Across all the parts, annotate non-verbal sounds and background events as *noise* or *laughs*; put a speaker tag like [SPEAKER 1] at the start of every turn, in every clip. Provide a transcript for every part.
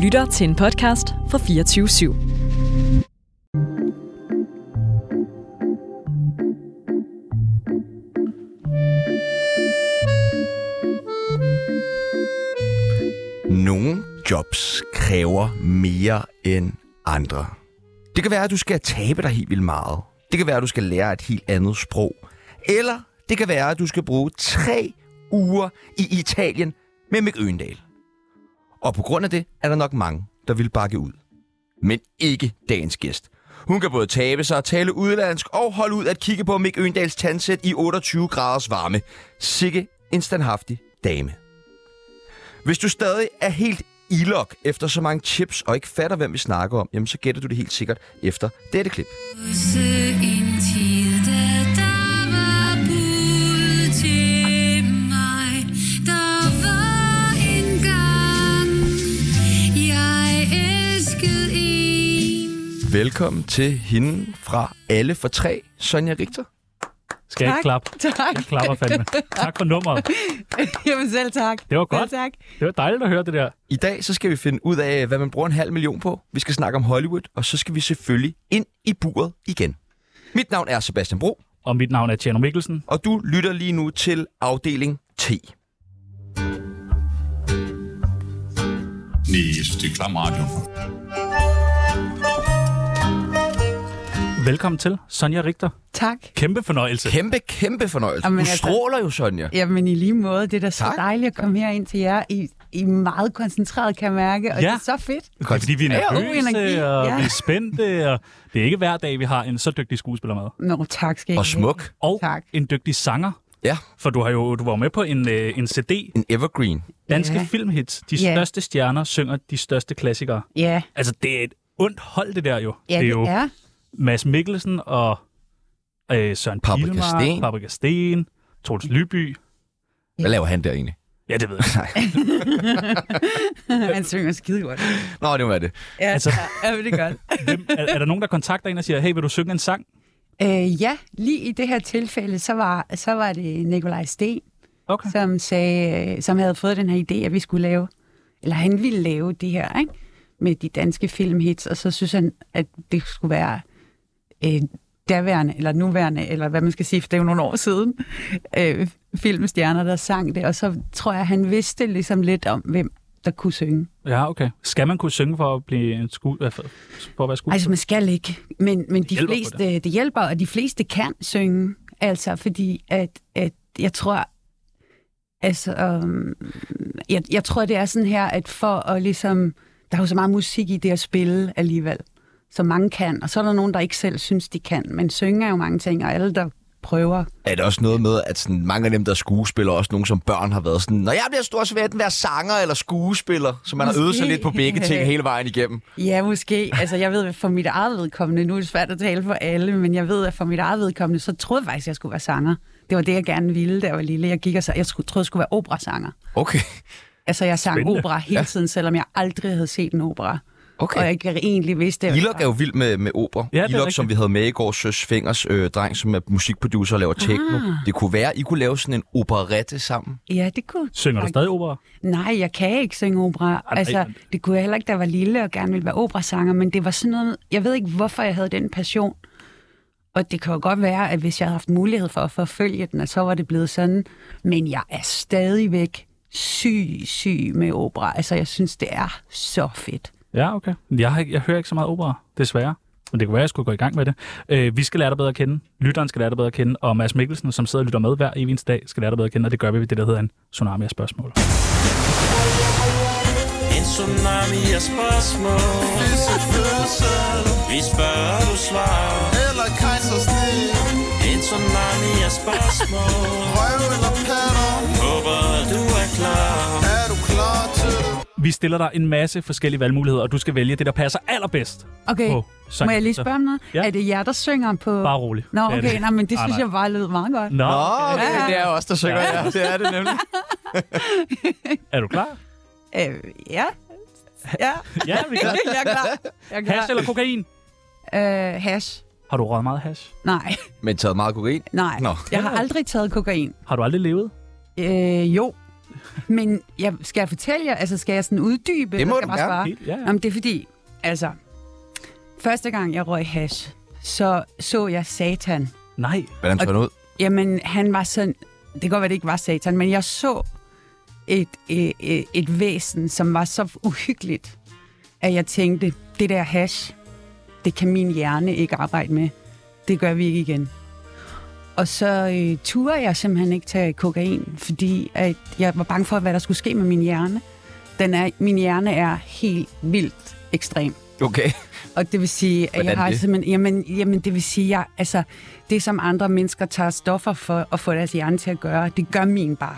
[SPEAKER 1] lytter til en podcast fra 24 /7.
[SPEAKER 2] Nogle jobs kræver mere end andre. Det kan være, at du skal tabe dig helt vildt meget. Det kan være, at du skal lære et helt andet sprog. Eller det kan være, at du skal bruge tre uger i Italien med Mick Øgendal. Og på grund af det er der nok mange, der vil bakke ud. Men ikke dagens gæst. Hun kan både tabe sig og tale udlandsk og holde ud at kigge på Mick Øgendals tandsæt i 28 graders varme. Sikke en standhaftig dame. Hvis du stadig er helt ilok efter så mange chips og ikke fatter, hvem vi snakker om, jamen så gætter du det helt sikkert efter dette klip.
[SPEAKER 3] En tid, der var bud til mig. Der var engang, jeg elskede en.
[SPEAKER 2] Velkommen til hende fra Alle for Tre, Sonja Richter.
[SPEAKER 4] Skal jeg ikke klappe?
[SPEAKER 5] *laughs* Tak.
[SPEAKER 4] Jeg klapper fandme. Tak for nummeret.
[SPEAKER 5] *laughs* Jamen selv tak.
[SPEAKER 4] Det var godt.
[SPEAKER 5] Selv tak.
[SPEAKER 4] Det var dejligt at høre det der.
[SPEAKER 2] I dag så skal vi finde ud af, hvad man bruger en halv million på. Vi skal snakke om Hollywood, og så skal vi selvfølgelig ind i buret igen. Mit navn er Sebastian Bro,
[SPEAKER 4] Og mit navn er Tjerno Mikkelsen.
[SPEAKER 2] og du lytter lige nu til afdeling T.
[SPEAKER 6] Nej, jeg synes, det er klam radio.
[SPEAKER 4] Velkommen til Sonja Richter.
[SPEAKER 5] Tak.
[SPEAKER 4] Kæmpe fornøjelse.
[SPEAKER 2] Kæmpe, kæmpe fornøjelse.
[SPEAKER 5] Jamen,
[SPEAKER 2] du
[SPEAKER 5] altså-
[SPEAKER 2] stråler jo, Sonja.
[SPEAKER 5] Jamen i lige måde, det er da så
[SPEAKER 2] Tak.
[SPEAKER 5] dejligt at komme herind til jer i, i meget koncentreret, kan jeg mærke. Og
[SPEAKER 4] Ja.
[SPEAKER 5] det er så fedt.
[SPEAKER 4] Det er, fordi vi er
[SPEAKER 5] Ja, og
[SPEAKER 4] nervøse,
[SPEAKER 5] energi,
[SPEAKER 4] og
[SPEAKER 5] ja.
[SPEAKER 4] vi er spændte, og det er ikke hver dag, vi har en så dygtig skuespiller med.
[SPEAKER 5] Nå, tak skal I
[SPEAKER 2] Og
[SPEAKER 5] have.
[SPEAKER 2] smuk.
[SPEAKER 4] Og
[SPEAKER 5] Tak.
[SPEAKER 4] en dygtig sanger.
[SPEAKER 2] Ja,
[SPEAKER 4] For du har jo du var jo med på en, øh, en CD,
[SPEAKER 2] en evergreen.
[SPEAKER 4] Danske
[SPEAKER 5] Ja.
[SPEAKER 4] Filmhits. De
[SPEAKER 5] Ja.
[SPEAKER 4] største stjerner synger de største klassikere.
[SPEAKER 5] Ja,
[SPEAKER 4] Altså, det er et ondt hold, det der jo.
[SPEAKER 5] ja
[SPEAKER 4] det er jo
[SPEAKER 5] er. *laughs*
[SPEAKER 4] Mads Mikkelsen og øh, Søren
[SPEAKER 2] Paprika
[SPEAKER 4] Pilmark,
[SPEAKER 2] Steen.
[SPEAKER 4] Paprika Sten, Troels Lyby.
[SPEAKER 2] Hvad laver han der egentlig?
[SPEAKER 4] Ja, det ved
[SPEAKER 5] *laughs*
[SPEAKER 4] jeg.
[SPEAKER 5] Han synger skide godt.
[SPEAKER 2] Nå, det var det.
[SPEAKER 5] Ja,
[SPEAKER 4] Altså-
[SPEAKER 5] altså... ja men det er godt.
[SPEAKER 4] Hvem, er, er der nogen, der kontakter en og siger, hey, vil du synge en sang?
[SPEAKER 5] Øh, ja, lige i det her tilfælde, så var, så var det Nikolaj Sten,
[SPEAKER 4] Okay.
[SPEAKER 5] som, sagde, øh, som havde fået den her idé, at vi skulle lave, eller han ville lave det her, ikke? med de danske filmhits, og så synes han, at det skulle være øh, daværende, eller nuværende, eller hvad man skal sige, for det er jo nogle år siden, øh, filmstjerner, der sang det, og så tror jeg, han vidste ligesom lidt om, hvem der kunne synge.
[SPEAKER 4] Ja, okay. Skal man kunne synge for at blive en sku... hvad for- for at være
[SPEAKER 5] Altså,
[SPEAKER 4] skuespiller?
[SPEAKER 5] man skal ikke, men, men de
[SPEAKER 4] hjælper på
[SPEAKER 5] fleste, det. det hjælper, og de fleste kan synge, altså, fordi at, at jeg tror, altså, øhm, jeg, jeg tror, det er sådan her, at for at ligesom, der er jo så meget musik i det at spille alligevel, så mange kan, og så er der nogen, der ikke selv synes, de kan, men synge er jo mange ting, og alle, der prøver,
[SPEAKER 2] er det også noget med, at sådan, mange af dem, der er skuespillere, også nogen som børn har været sådan, når jeg bliver stor, så vil jeg enten være sanger eller skuespiller, så man har øvet sig
[SPEAKER 5] Måske.
[SPEAKER 2] lidt på begge ting hele vejen igennem.
[SPEAKER 5] Ja, måske. Altså, jeg ved for mit eget vedkommende, nu er det svært at tale for alle, men jeg ved, at for mit eget vedkommende, så troede jeg faktisk, at jeg skulle være sanger. Det var det, jeg gerne ville, da jeg var lille. Jeg, gik og så, jeg skulle, troede, jeg skulle være operasanger.
[SPEAKER 2] Okay.
[SPEAKER 5] Altså, jeg sang
[SPEAKER 4] Spændende.
[SPEAKER 5] opera hele tiden, selvom jeg aldrig havde set en opera.
[SPEAKER 2] Okay.
[SPEAKER 5] Og jeg ikke egentlig vidste... at-
[SPEAKER 2] Ilok er jo vild med, med opera.
[SPEAKER 4] Ja, det er
[SPEAKER 2] Ilok,
[SPEAKER 4] rigtigt.
[SPEAKER 2] som vi havde med i går, Søs Fingers øh, dreng, som er musikproducer og laver techno.
[SPEAKER 5] Ah.
[SPEAKER 2] Det kunne være, I kunne lave sådan en operette sammen.
[SPEAKER 5] Ja, det kunne...
[SPEAKER 4] Synger du stadig opera?
[SPEAKER 5] Nej, jeg kan ikke synge opera.
[SPEAKER 4] nej.
[SPEAKER 5] Altså, det kunne jeg heller ikke, da jeg var lille og gerne ville være operasanger, men det var sådan noget... Jeg ved ikke, hvorfor jeg havde den passion. Og det kan jo godt være, at hvis jeg havde haft mulighed for at forfølge den, at så var det blevet sådan. Men jeg er stadigvæk syg, syg med opera. Altså, jeg synes, det er så fedt.
[SPEAKER 4] Ja, okay. Jeg, har ikke, jeg hører ikke så meget opera, desværre. Men det kunne være, at jeg skulle gå i gang med det. Øh, vi skal lære dig bedre at kende. Lytteren skal lære dig bedre at kende. Og Mads Mikkelsen, som sidder og lytter med hver evig eneste dag, skal lære dig bedre at kende. Og det gør vi ved det, der hedder en tsunami af spørgsmål.
[SPEAKER 7] En tsunami af spørgsmål Vi spørger, du svarer
[SPEAKER 8] Eller kejsersnit
[SPEAKER 7] En tsunami af spørgsmål
[SPEAKER 8] *laughs* Røv eller patter
[SPEAKER 7] Håber, du er klar
[SPEAKER 8] Er du klar til det?
[SPEAKER 4] Vi stiller dig en masse forskellige valgmuligheder, og du skal vælge det, der passer allerbedst.
[SPEAKER 5] Okay,
[SPEAKER 4] Åh,
[SPEAKER 5] oh,
[SPEAKER 4] så-
[SPEAKER 5] må jeg lige spørge om noget?
[SPEAKER 4] Ja.
[SPEAKER 5] Ja. Er det jer, der synger på...
[SPEAKER 4] Bare rolig.
[SPEAKER 5] Nå,
[SPEAKER 4] Det er
[SPEAKER 5] okay,
[SPEAKER 4] det.
[SPEAKER 5] nej, men det
[SPEAKER 4] Ah,
[SPEAKER 5] synes
[SPEAKER 4] nej.
[SPEAKER 5] jeg bare lød meget godt.
[SPEAKER 4] Nå,
[SPEAKER 2] Åh,
[SPEAKER 5] okay.
[SPEAKER 2] det er jo os, der synger. Ja. det er det nemlig.
[SPEAKER 4] er du klar? Mm.
[SPEAKER 5] Øh, ja.
[SPEAKER 4] *laughs*
[SPEAKER 5] Ja,
[SPEAKER 4] Ja, vi
[SPEAKER 5] *laughs*
[SPEAKER 4] er klar.
[SPEAKER 5] jeg er klar. Jeg er
[SPEAKER 4] Hash eller kokain?
[SPEAKER 5] klar. Øh, hash.
[SPEAKER 4] Har du røget meget hash?
[SPEAKER 5] Nej,
[SPEAKER 2] Men taget meget kokain.
[SPEAKER 5] nej.
[SPEAKER 2] Nå.
[SPEAKER 5] Jeg har aldrig taget kokain.
[SPEAKER 4] Har du aldrig levet?
[SPEAKER 5] Øh, jo, Men jeg, skal jeg fortælle jer? Altså, skal jeg sådan uddybe?
[SPEAKER 2] Det må du
[SPEAKER 5] eller skal jeg
[SPEAKER 2] gerne.
[SPEAKER 5] svare?
[SPEAKER 4] Helt, ja, ja.
[SPEAKER 5] Jamen, det er fordi, altså, første gang jeg røg hash, så så jeg satan.
[SPEAKER 4] Nej.
[SPEAKER 2] Hvordan så
[SPEAKER 5] Og-
[SPEAKER 2] den ud?
[SPEAKER 5] Jamen, han var sådan... Det kan godt være, det ikke var satan, men jeg så et, et, et væsen, som var så uhyggeligt, at jeg tænkte, det der hash, det kan min hjerne ikke arbejde med. Det gør vi ikke igen. Og så øh, turde jeg simpelthen ikke tage kokain, fordi at jeg var bange for, hvad der skulle ske med min hjerne. Den er, min hjerne er helt vildt ekstrem.
[SPEAKER 2] Okay.
[SPEAKER 5] Og det vil sige, at
[SPEAKER 2] Hvordan
[SPEAKER 5] jeg har
[SPEAKER 2] det?
[SPEAKER 5] simpelthen... Jamen, jamen, det vil sige, jeg, altså, det som andre mennesker tager stoffer for at få deres hjerne til at gøre, det gør min bare.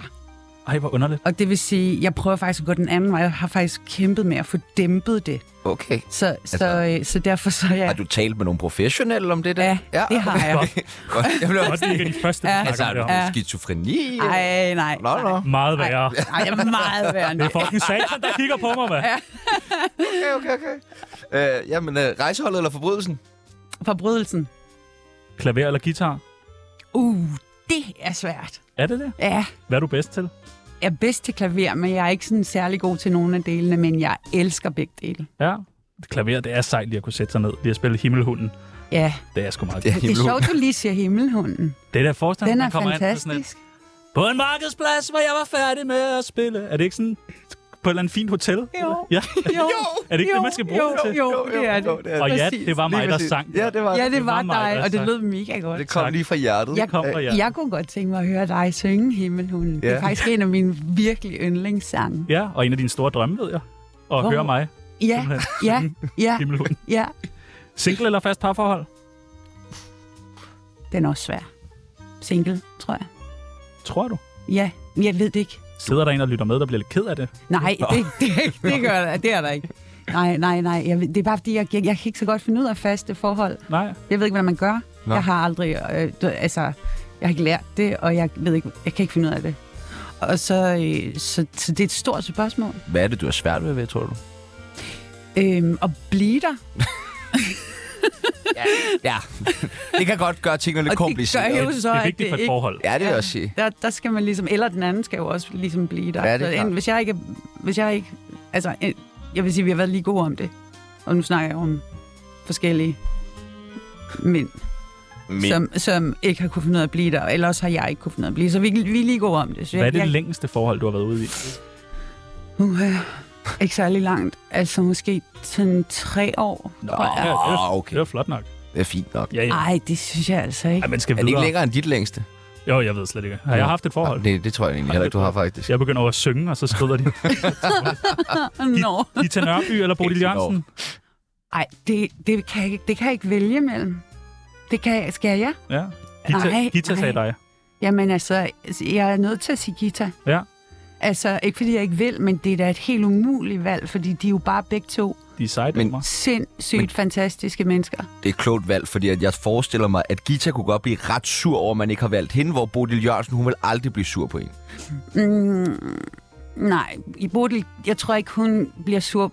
[SPEAKER 4] Ej, hvor underligt.
[SPEAKER 5] Og det vil sige, jeg prøver faktisk at gå den anden vej. Jeg har faktisk kæmpet med at få dæmpet det.
[SPEAKER 2] Okay.
[SPEAKER 5] Så, altså, så, øh, så derfor så er jeg...
[SPEAKER 2] Har du talt med nogle professionelle om det der?
[SPEAKER 5] Ja, det har jeg.
[SPEAKER 2] *laughs* Godt. jeg blev
[SPEAKER 4] Og
[SPEAKER 2] også...
[SPEAKER 4] det er ikke de første, der
[SPEAKER 5] Ja.
[SPEAKER 2] Altså, har
[SPEAKER 4] snakker om
[SPEAKER 2] du
[SPEAKER 4] det her.
[SPEAKER 5] Ja.
[SPEAKER 2] ja. skizofreni?
[SPEAKER 5] Ej, nej.
[SPEAKER 2] Nå, nå.
[SPEAKER 4] Meget værre.
[SPEAKER 5] Nej, jeg er meget værre end
[SPEAKER 4] Det
[SPEAKER 5] det.
[SPEAKER 4] er fucking satan, der kigger på mig, hvad?
[SPEAKER 2] Okay, okay, okay. Øh, jamen, øh, rejseholdet eller forbrydelsen?
[SPEAKER 5] Forbrydelsen.
[SPEAKER 4] Klaver eller guitar?
[SPEAKER 5] Uh, det er svært.
[SPEAKER 4] Er det det?
[SPEAKER 5] Ja,
[SPEAKER 4] Hvad er du bedst til?
[SPEAKER 5] jeg er bedst til klaver, men jeg er ikke sådan særlig god til nogen af delene, men jeg elsker begge dele.
[SPEAKER 4] Ja. Klaver, det er sejt lige at kunne sætte sig ned. Lige at spille Himmelhunden.
[SPEAKER 5] Ja,
[SPEAKER 4] Det er sgu meget
[SPEAKER 2] Ja,
[SPEAKER 4] godt.
[SPEAKER 5] det er
[SPEAKER 2] himmelhund.
[SPEAKER 5] sjovt, du lige siger himmelhunden.
[SPEAKER 4] Det er der forstand,
[SPEAKER 5] Den er
[SPEAKER 4] man kommer ind på
[SPEAKER 5] fantastisk.
[SPEAKER 4] sådan et, På en markedsplads, hvor jeg var færdig med at spille. Er det ikke sådan på et eller andet fint hotel?
[SPEAKER 5] Jo.
[SPEAKER 4] Ja. *laughs*
[SPEAKER 5] *laughs* Jo,
[SPEAKER 4] Er det ikke det, man skal bruge
[SPEAKER 5] jo,
[SPEAKER 4] det til?
[SPEAKER 5] Jo, jo, det er det.
[SPEAKER 2] Jo, det er
[SPEAKER 4] Og ja,
[SPEAKER 5] Præcis.
[SPEAKER 4] det var mig,
[SPEAKER 2] Lige
[SPEAKER 4] der
[SPEAKER 2] præcis.
[SPEAKER 4] sang.
[SPEAKER 2] Ja, det var
[SPEAKER 5] Ja, det var
[SPEAKER 4] var mig,
[SPEAKER 5] dig,
[SPEAKER 4] der
[SPEAKER 5] og det
[SPEAKER 4] sang.
[SPEAKER 5] lød mega godt.
[SPEAKER 2] Det kom
[SPEAKER 4] tak.
[SPEAKER 2] lige fra hjertet. Øh,
[SPEAKER 5] Jeg,
[SPEAKER 4] kom fra hjertet.
[SPEAKER 5] jeg kunne godt tænke mig at høre dig synge Himmelhunden. Ja. Det
[SPEAKER 2] Ja.
[SPEAKER 5] er faktisk en af mine virkelig yndlingssange.
[SPEAKER 4] Ja, og en af dine store drømme, ved jeg. Og
[SPEAKER 5] Hvor-
[SPEAKER 4] høre mig,
[SPEAKER 5] Ja, ja, ja,
[SPEAKER 4] Himmelhunden.
[SPEAKER 5] ja.
[SPEAKER 4] Single eller fast parforhold?
[SPEAKER 5] Den er også svær. Single, tror jeg.
[SPEAKER 4] Tror du?
[SPEAKER 5] Ja, men jeg ved det ikke.
[SPEAKER 4] Sidder der en og lytter med, der bliver lidt ked af det?
[SPEAKER 5] Nej, det, det, det gør der. Det er der ikke. Nej, nej, nej. Jeg, ved- det er bare fordi, jeg, jeg, jeg kan ikke så godt finde ud af faste forhold.
[SPEAKER 4] Nej.
[SPEAKER 5] Jeg ved ikke, hvordan man gør.
[SPEAKER 2] Nå.
[SPEAKER 5] Nå. Jeg har aldrig, øh, du- altså, jeg har ikke lært det, og jeg ved ikke, jeg kan ikke finde ud af det. Og så, øh, så, så det er et stort spørgsmål.
[SPEAKER 2] Hvad er det, du har svært ved, ved tror du?
[SPEAKER 5] Øhm, at blive der,
[SPEAKER 2] Ja, *laughs* det kan godt gøre tingene lidt
[SPEAKER 5] og det gør
[SPEAKER 2] komplicerede.
[SPEAKER 5] jo
[SPEAKER 4] Det
[SPEAKER 5] så,
[SPEAKER 4] er
[SPEAKER 5] at
[SPEAKER 4] vigtigt for
[SPEAKER 5] det
[SPEAKER 4] et
[SPEAKER 5] ikke
[SPEAKER 4] forhold.
[SPEAKER 2] Ja, det vil jeg også sige.
[SPEAKER 5] der, der skal man ligesom, eller den anden skal jo også ligesom blive der.
[SPEAKER 2] Ja, det er
[SPEAKER 5] Så
[SPEAKER 2] klart.
[SPEAKER 5] en, hvis jeg ikke, er- hvis jeg ikke, altså, en, jeg vil sige, vi har været lige gode om det. Og nu snakker jeg om forskellige mænd,
[SPEAKER 2] Men
[SPEAKER 5] Som, som ikke har kunne finde ud af at blive der, eller også har jeg ikke kunne finde ud af at blive, så vi, vi er lige gode om det. Så
[SPEAKER 4] Hvad er
[SPEAKER 5] jeg,
[SPEAKER 4] det
[SPEAKER 5] jeg,
[SPEAKER 4] længste forhold, du har været ude i?
[SPEAKER 5] uh, ikke særlig langt, altså måske sådan tre år.
[SPEAKER 4] Nå,
[SPEAKER 5] tror jeg.
[SPEAKER 4] ja, det,
[SPEAKER 2] Åh,
[SPEAKER 4] var,
[SPEAKER 2] okay.
[SPEAKER 4] det var flot nok.
[SPEAKER 2] det er fint nok.
[SPEAKER 4] Ja, ja.
[SPEAKER 5] Ej, det synes jeg altså
[SPEAKER 4] Ej,
[SPEAKER 5] ikke.
[SPEAKER 4] man skal
[SPEAKER 2] Er det ikke
[SPEAKER 4] videre.
[SPEAKER 2] længere end dit længste?
[SPEAKER 4] Jo, jeg ved slet ikke. Har jeg haft et forhold?
[SPEAKER 2] Det, det tror jeg egentlig heller ikke, du har faktisk.
[SPEAKER 4] Jeg begynder over at synge, og så
[SPEAKER 2] *laughs*
[SPEAKER 4] skrider de.
[SPEAKER 5] Nå.
[SPEAKER 4] Gita Nørby eller Bodil
[SPEAKER 2] Helt
[SPEAKER 4] Jørgensen?
[SPEAKER 5] Ej, det, det, kan jeg, ikke- det kan jeg ikke vælge mellem. Det kan jeg, skal jeg?
[SPEAKER 4] Ja. Gita,
[SPEAKER 5] Nej,
[SPEAKER 4] Gita sagde
[SPEAKER 5] nej.
[SPEAKER 4] dig.
[SPEAKER 5] Jamen altså, jeg er nødt til at sige guitar.
[SPEAKER 4] Ja.
[SPEAKER 5] Altså, ikke fordi jeg ikke vil, men det er da et helt umuligt valg, fordi de er jo bare begge to
[SPEAKER 4] De er seje
[SPEAKER 2] Men-
[SPEAKER 4] damer.
[SPEAKER 5] sindssygt
[SPEAKER 2] Men-
[SPEAKER 5] men... fantastiske mennesker.
[SPEAKER 2] Det er et klogt valg, fordi at jeg forestiller mig, at Gita kunne godt blive ret sur over, at man ikke har valgt hende, hvor Bodil Jørgensen, hun vil aldrig blive sur på en.
[SPEAKER 5] Mm, nej, i Bodil, jeg tror ikke, hun bliver sur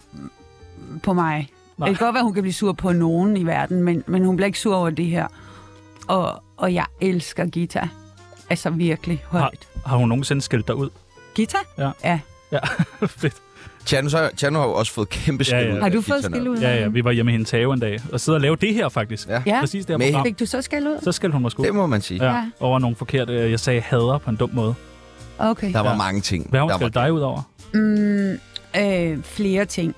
[SPEAKER 5] på mig.
[SPEAKER 4] Nej.
[SPEAKER 5] Nej. Det kan godt være, hun kan blive sur på nogen i verden, men, men hun bliver ikke sur over det her. Og, og jeg elsker guitar. Altså virkelig
[SPEAKER 4] Har,
[SPEAKER 5] højt.
[SPEAKER 4] har hun nogensinde skældt dig ud?
[SPEAKER 5] Guitar?
[SPEAKER 4] Ja.
[SPEAKER 5] ja.
[SPEAKER 4] Ja, *laughs* fedt.
[SPEAKER 2] Tjerno, så, Tjerno har jo også fået kæmpe skæld
[SPEAKER 4] Ja, ja.
[SPEAKER 2] ud
[SPEAKER 5] Har
[SPEAKER 2] af
[SPEAKER 5] du
[SPEAKER 2] Gita
[SPEAKER 5] fået
[SPEAKER 2] Nørby.
[SPEAKER 5] skæld ud?
[SPEAKER 4] Ja, ja, vi var hjemme i hendes have en dag, og sidder og laver det her faktisk.
[SPEAKER 2] Ja.
[SPEAKER 5] ja.
[SPEAKER 4] Præcis det her
[SPEAKER 2] Med
[SPEAKER 4] program.
[SPEAKER 5] Fik du så skæld ud?
[SPEAKER 4] Så skældte hun mig sgu.
[SPEAKER 2] Det må man sige.
[SPEAKER 4] Ja,
[SPEAKER 5] Ja.
[SPEAKER 4] over nogle forkerte, øh, jeg sagde hader på en dum måde.
[SPEAKER 5] Okay.
[SPEAKER 2] Der var
[SPEAKER 4] Ja.
[SPEAKER 2] mange ting.
[SPEAKER 4] Hvad har hun
[SPEAKER 2] der var...
[SPEAKER 4] skældt dig ud over?
[SPEAKER 5] Mm, øh, flere ting.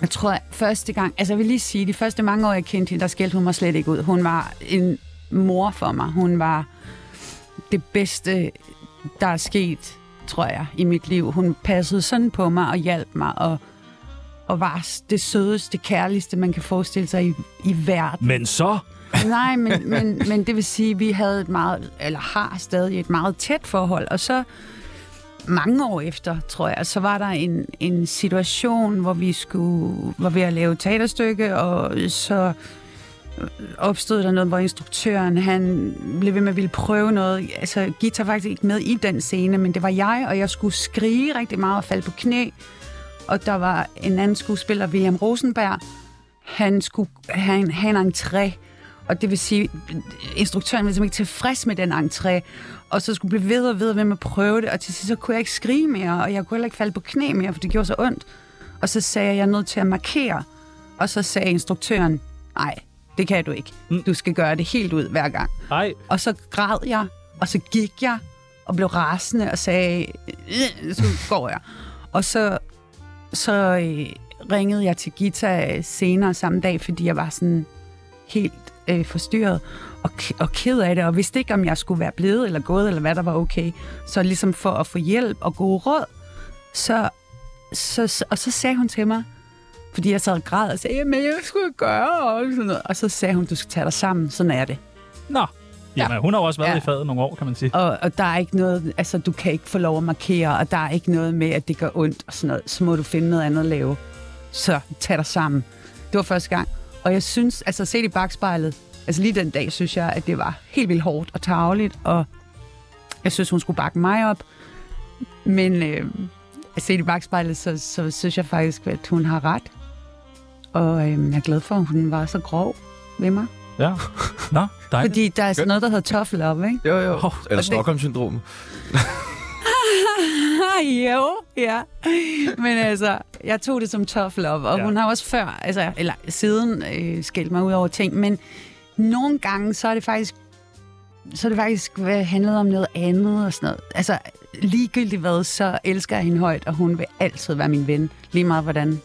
[SPEAKER 5] Jeg tror, at første gang... Altså, jeg vil lige sige, de første mange år, jeg kendte hende, der skældte hun mig slet ikke ud. Hun var en mor for mig. Hun var det bedste, der er sket, tror jeg, i mit liv. Hun passede sådan på mig og hjalp mig og, og var det sødeste, kærligste, man kan forestille sig i, i verden.
[SPEAKER 4] Men så...
[SPEAKER 5] Nej, men, men, men det vil sige, at vi havde et meget, eller har stadig et meget tæt forhold, og så mange år efter, tror jeg, så var der en, en situation, hvor vi skulle, var ved at lave et teaterstykke, og så opstod der noget, hvor instruktøren, han blev ved med at ville prøve noget. Altså, guitar var faktisk ikke med i den scene, men det var jeg, og jeg skulle skrige rigtig meget og falde på knæ. Og der var en anden skuespiller, William Rosenberg, han skulle have en, have en entré, Og det vil sige, instruktøren var simpelthen ikke tilfreds med den entré, og så skulle blive ved og ved ved med at prøve det, og til sidst så kunne jeg ikke skrige mere, og jeg kunne heller ikke falde på knæ mere, for det gjorde så ondt. Og så sagde jeg, at jeg er nødt til at markere, og så sagde instruktøren, nej, det kan du ikke. Du skal gøre det helt ud hver gang.
[SPEAKER 4] Nej,
[SPEAKER 5] Og så græd jeg, og så gik jeg, og blev rasende og sagde, "Øh, så går jeg. Og så, så øh, ringede jeg til Gita senere samme dag, fordi jeg var sådan helt øh, forstyrret og, k- og ked af det, og vidste ikke, om jeg skulle være blevet eller gået, eller hvad der var okay. Så ligesom for at få hjælp og gode råd, så, så, så, og så sagde hun til mig, fordi jeg sad og græd og sagde, men jeg skulle gøre, og sådan noget. Og så sagde hun, du skal tage dig sammen, sådan er det.
[SPEAKER 4] nå. Jamen, hun har jo også været
[SPEAKER 5] Ja.
[SPEAKER 4] i faget nogle år, kan man sige.
[SPEAKER 5] Og, og der er ikke noget, altså du kan ikke få lov at markere, og der er ikke noget med, at det gør ondt og sådan noget. Så må du finde noget andet at lave. Så tag dig sammen. Det var første gang. Og jeg synes, altså set i bagspejlet, altså lige den dag, synes jeg, at det var helt vildt hårdt og tageligt, og jeg synes, hun skulle bakke mig op. Men øh, set i bagspejlet, så, så synes jeg faktisk, at hun har ret. Og øh, jeg er glad for, at hun var så grov ved mig.
[SPEAKER 4] Ja. Nå, dejligt.
[SPEAKER 5] Fordi der er sådan noget, der hedder toffel op, ikke?
[SPEAKER 2] Jo, jo.
[SPEAKER 4] Hov.
[SPEAKER 2] Eller
[SPEAKER 5] det-
[SPEAKER 2] Stockholm-syndrom.
[SPEAKER 5] Ah, *laughs* jo, ja. Men altså, jeg tog det som tough love, og
[SPEAKER 4] Ja.
[SPEAKER 5] ja. hun har også før, altså, eller siden øh, skældt mig ud over ting, men nogle gange, så er det faktisk så er det faktisk hvad, handlet om noget andet og sådan noget. Altså, ligegyldigt hvad, så elsker jeg hende højt, og hun vil altid være min ven, lige meget hvordan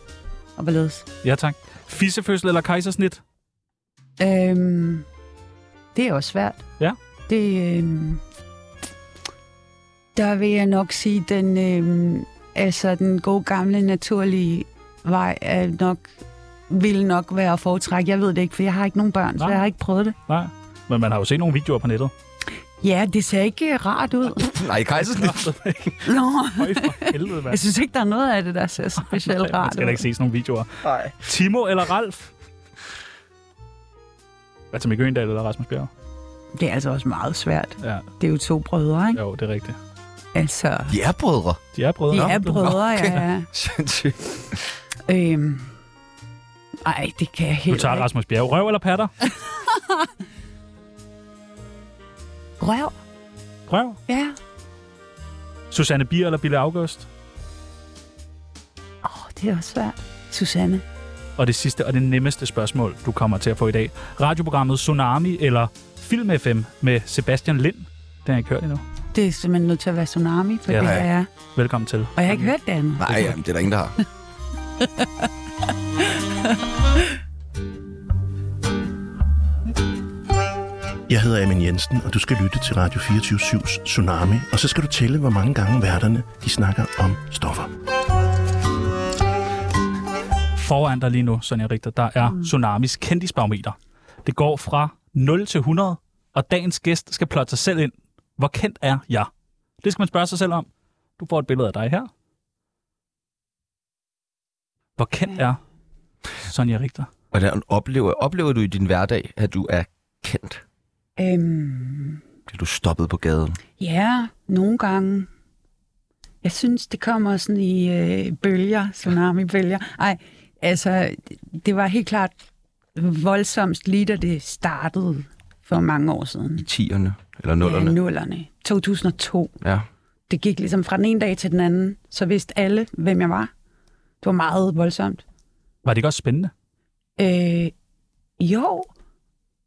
[SPEAKER 5] og hvorledes.
[SPEAKER 4] Ja, tak. Fissefødsel eller kejsersnit?
[SPEAKER 5] Øhm, det er også svært.
[SPEAKER 4] Ja.
[SPEAKER 5] Det, øhm, der vil jeg nok sige, den, øhm, altså, den gode gamle naturlige vej er nok, vil nok være at foretrække. Jeg ved det ikke, for jeg har ikke nogen børn, så
[SPEAKER 4] Nej.
[SPEAKER 5] jeg har ikke prøvet det.
[SPEAKER 4] Nej. Men man har jo set nogle videoer på nettet.
[SPEAKER 5] Ja, det ser ikke rart
[SPEAKER 4] *laughs*
[SPEAKER 5] ud.
[SPEAKER 2] *laughs* Nej, kejsersnit.
[SPEAKER 5] Nå,
[SPEAKER 4] Høj for helvede,
[SPEAKER 5] *laughs* jeg
[SPEAKER 4] mand.
[SPEAKER 5] synes ikke, der er noget af det, der ser specielt
[SPEAKER 4] Man
[SPEAKER 5] rart
[SPEAKER 4] skal da ikke
[SPEAKER 5] ud.
[SPEAKER 4] se sådan nogle videoer.
[SPEAKER 2] Nej.
[SPEAKER 4] Timo eller Ralf? Hvad til Mikke Øendal eller Rasmus Bjerg?
[SPEAKER 5] Det er altså også meget svært.
[SPEAKER 4] Ja,
[SPEAKER 5] Det er jo to brødre, ikke?
[SPEAKER 4] jo, det er rigtigt.
[SPEAKER 5] Altså,
[SPEAKER 2] De er brødre.
[SPEAKER 4] De er brødre.
[SPEAKER 5] de
[SPEAKER 4] Nå,
[SPEAKER 5] er
[SPEAKER 4] du-
[SPEAKER 5] brødre, ja. ja.
[SPEAKER 2] Sindssygt.
[SPEAKER 5] Øhm. Ej, det kan jeg
[SPEAKER 4] Du
[SPEAKER 5] helt
[SPEAKER 4] tager Rasmus Bjerg. Røv eller patter?
[SPEAKER 5] Røv,
[SPEAKER 4] Røv.
[SPEAKER 5] ja.
[SPEAKER 4] Susanne Bier eller Bille August?
[SPEAKER 5] Åh, oh, det er også svært. Susanne.
[SPEAKER 4] Og det sidste og det nemmeste spørgsmål, du kommer til at få i dag. Radioprogrammet Tsunami eller Film FM med Sebastian Lind? Den har jeg ikke hørt endnu.
[SPEAKER 5] Det er simpelthen nødt til at være tsunami, for
[SPEAKER 4] Ja,
[SPEAKER 5] ja, det
[SPEAKER 4] nej.
[SPEAKER 5] er jeg.
[SPEAKER 4] Velkommen til.
[SPEAKER 5] Og jeg har ikke hørt det andet.
[SPEAKER 2] Nej, jamen, det er der ingen, der har.
[SPEAKER 6] Jeg hedder Amin Jensen, og du skal lytte til Radio 24-7's Tsunami, og så skal du tælle, hvor mange gange værterne de snakker om stoffer.
[SPEAKER 4] Foran dig lige nu, Sonja Richter, der er mm. Tsunamis kendisbarometer. Det går fra 0 til 100, og dagens gæst skal plotte sig selv ind. Hvor kendt er jeg? Det skal man spørge sig selv om. Du får et billede af dig her. Hvor kendt er Sonja Richter?
[SPEAKER 2] Hvordan oplever, oplever du i din hverdag, at du er kendt?
[SPEAKER 5] Øhm,
[SPEAKER 2] Bliver du stoppet på gaden?
[SPEAKER 5] ja, nogle gange. Jeg synes, det kommer sådan i øh, bølger, tsunami-bølger. Ej, altså, det- det var helt klart voldsomt lige da det startede for mange år siden.
[SPEAKER 2] I tierne? Eller
[SPEAKER 5] Ja,
[SPEAKER 2] nullerne?
[SPEAKER 5] nullerne. 2002.
[SPEAKER 2] Ja.
[SPEAKER 5] det gik ligesom fra den ene dag til den anden, så vidste alle, hvem jeg var. Det var meget voldsomt.
[SPEAKER 4] Var det ikke også spændende?
[SPEAKER 5] Øh, jo,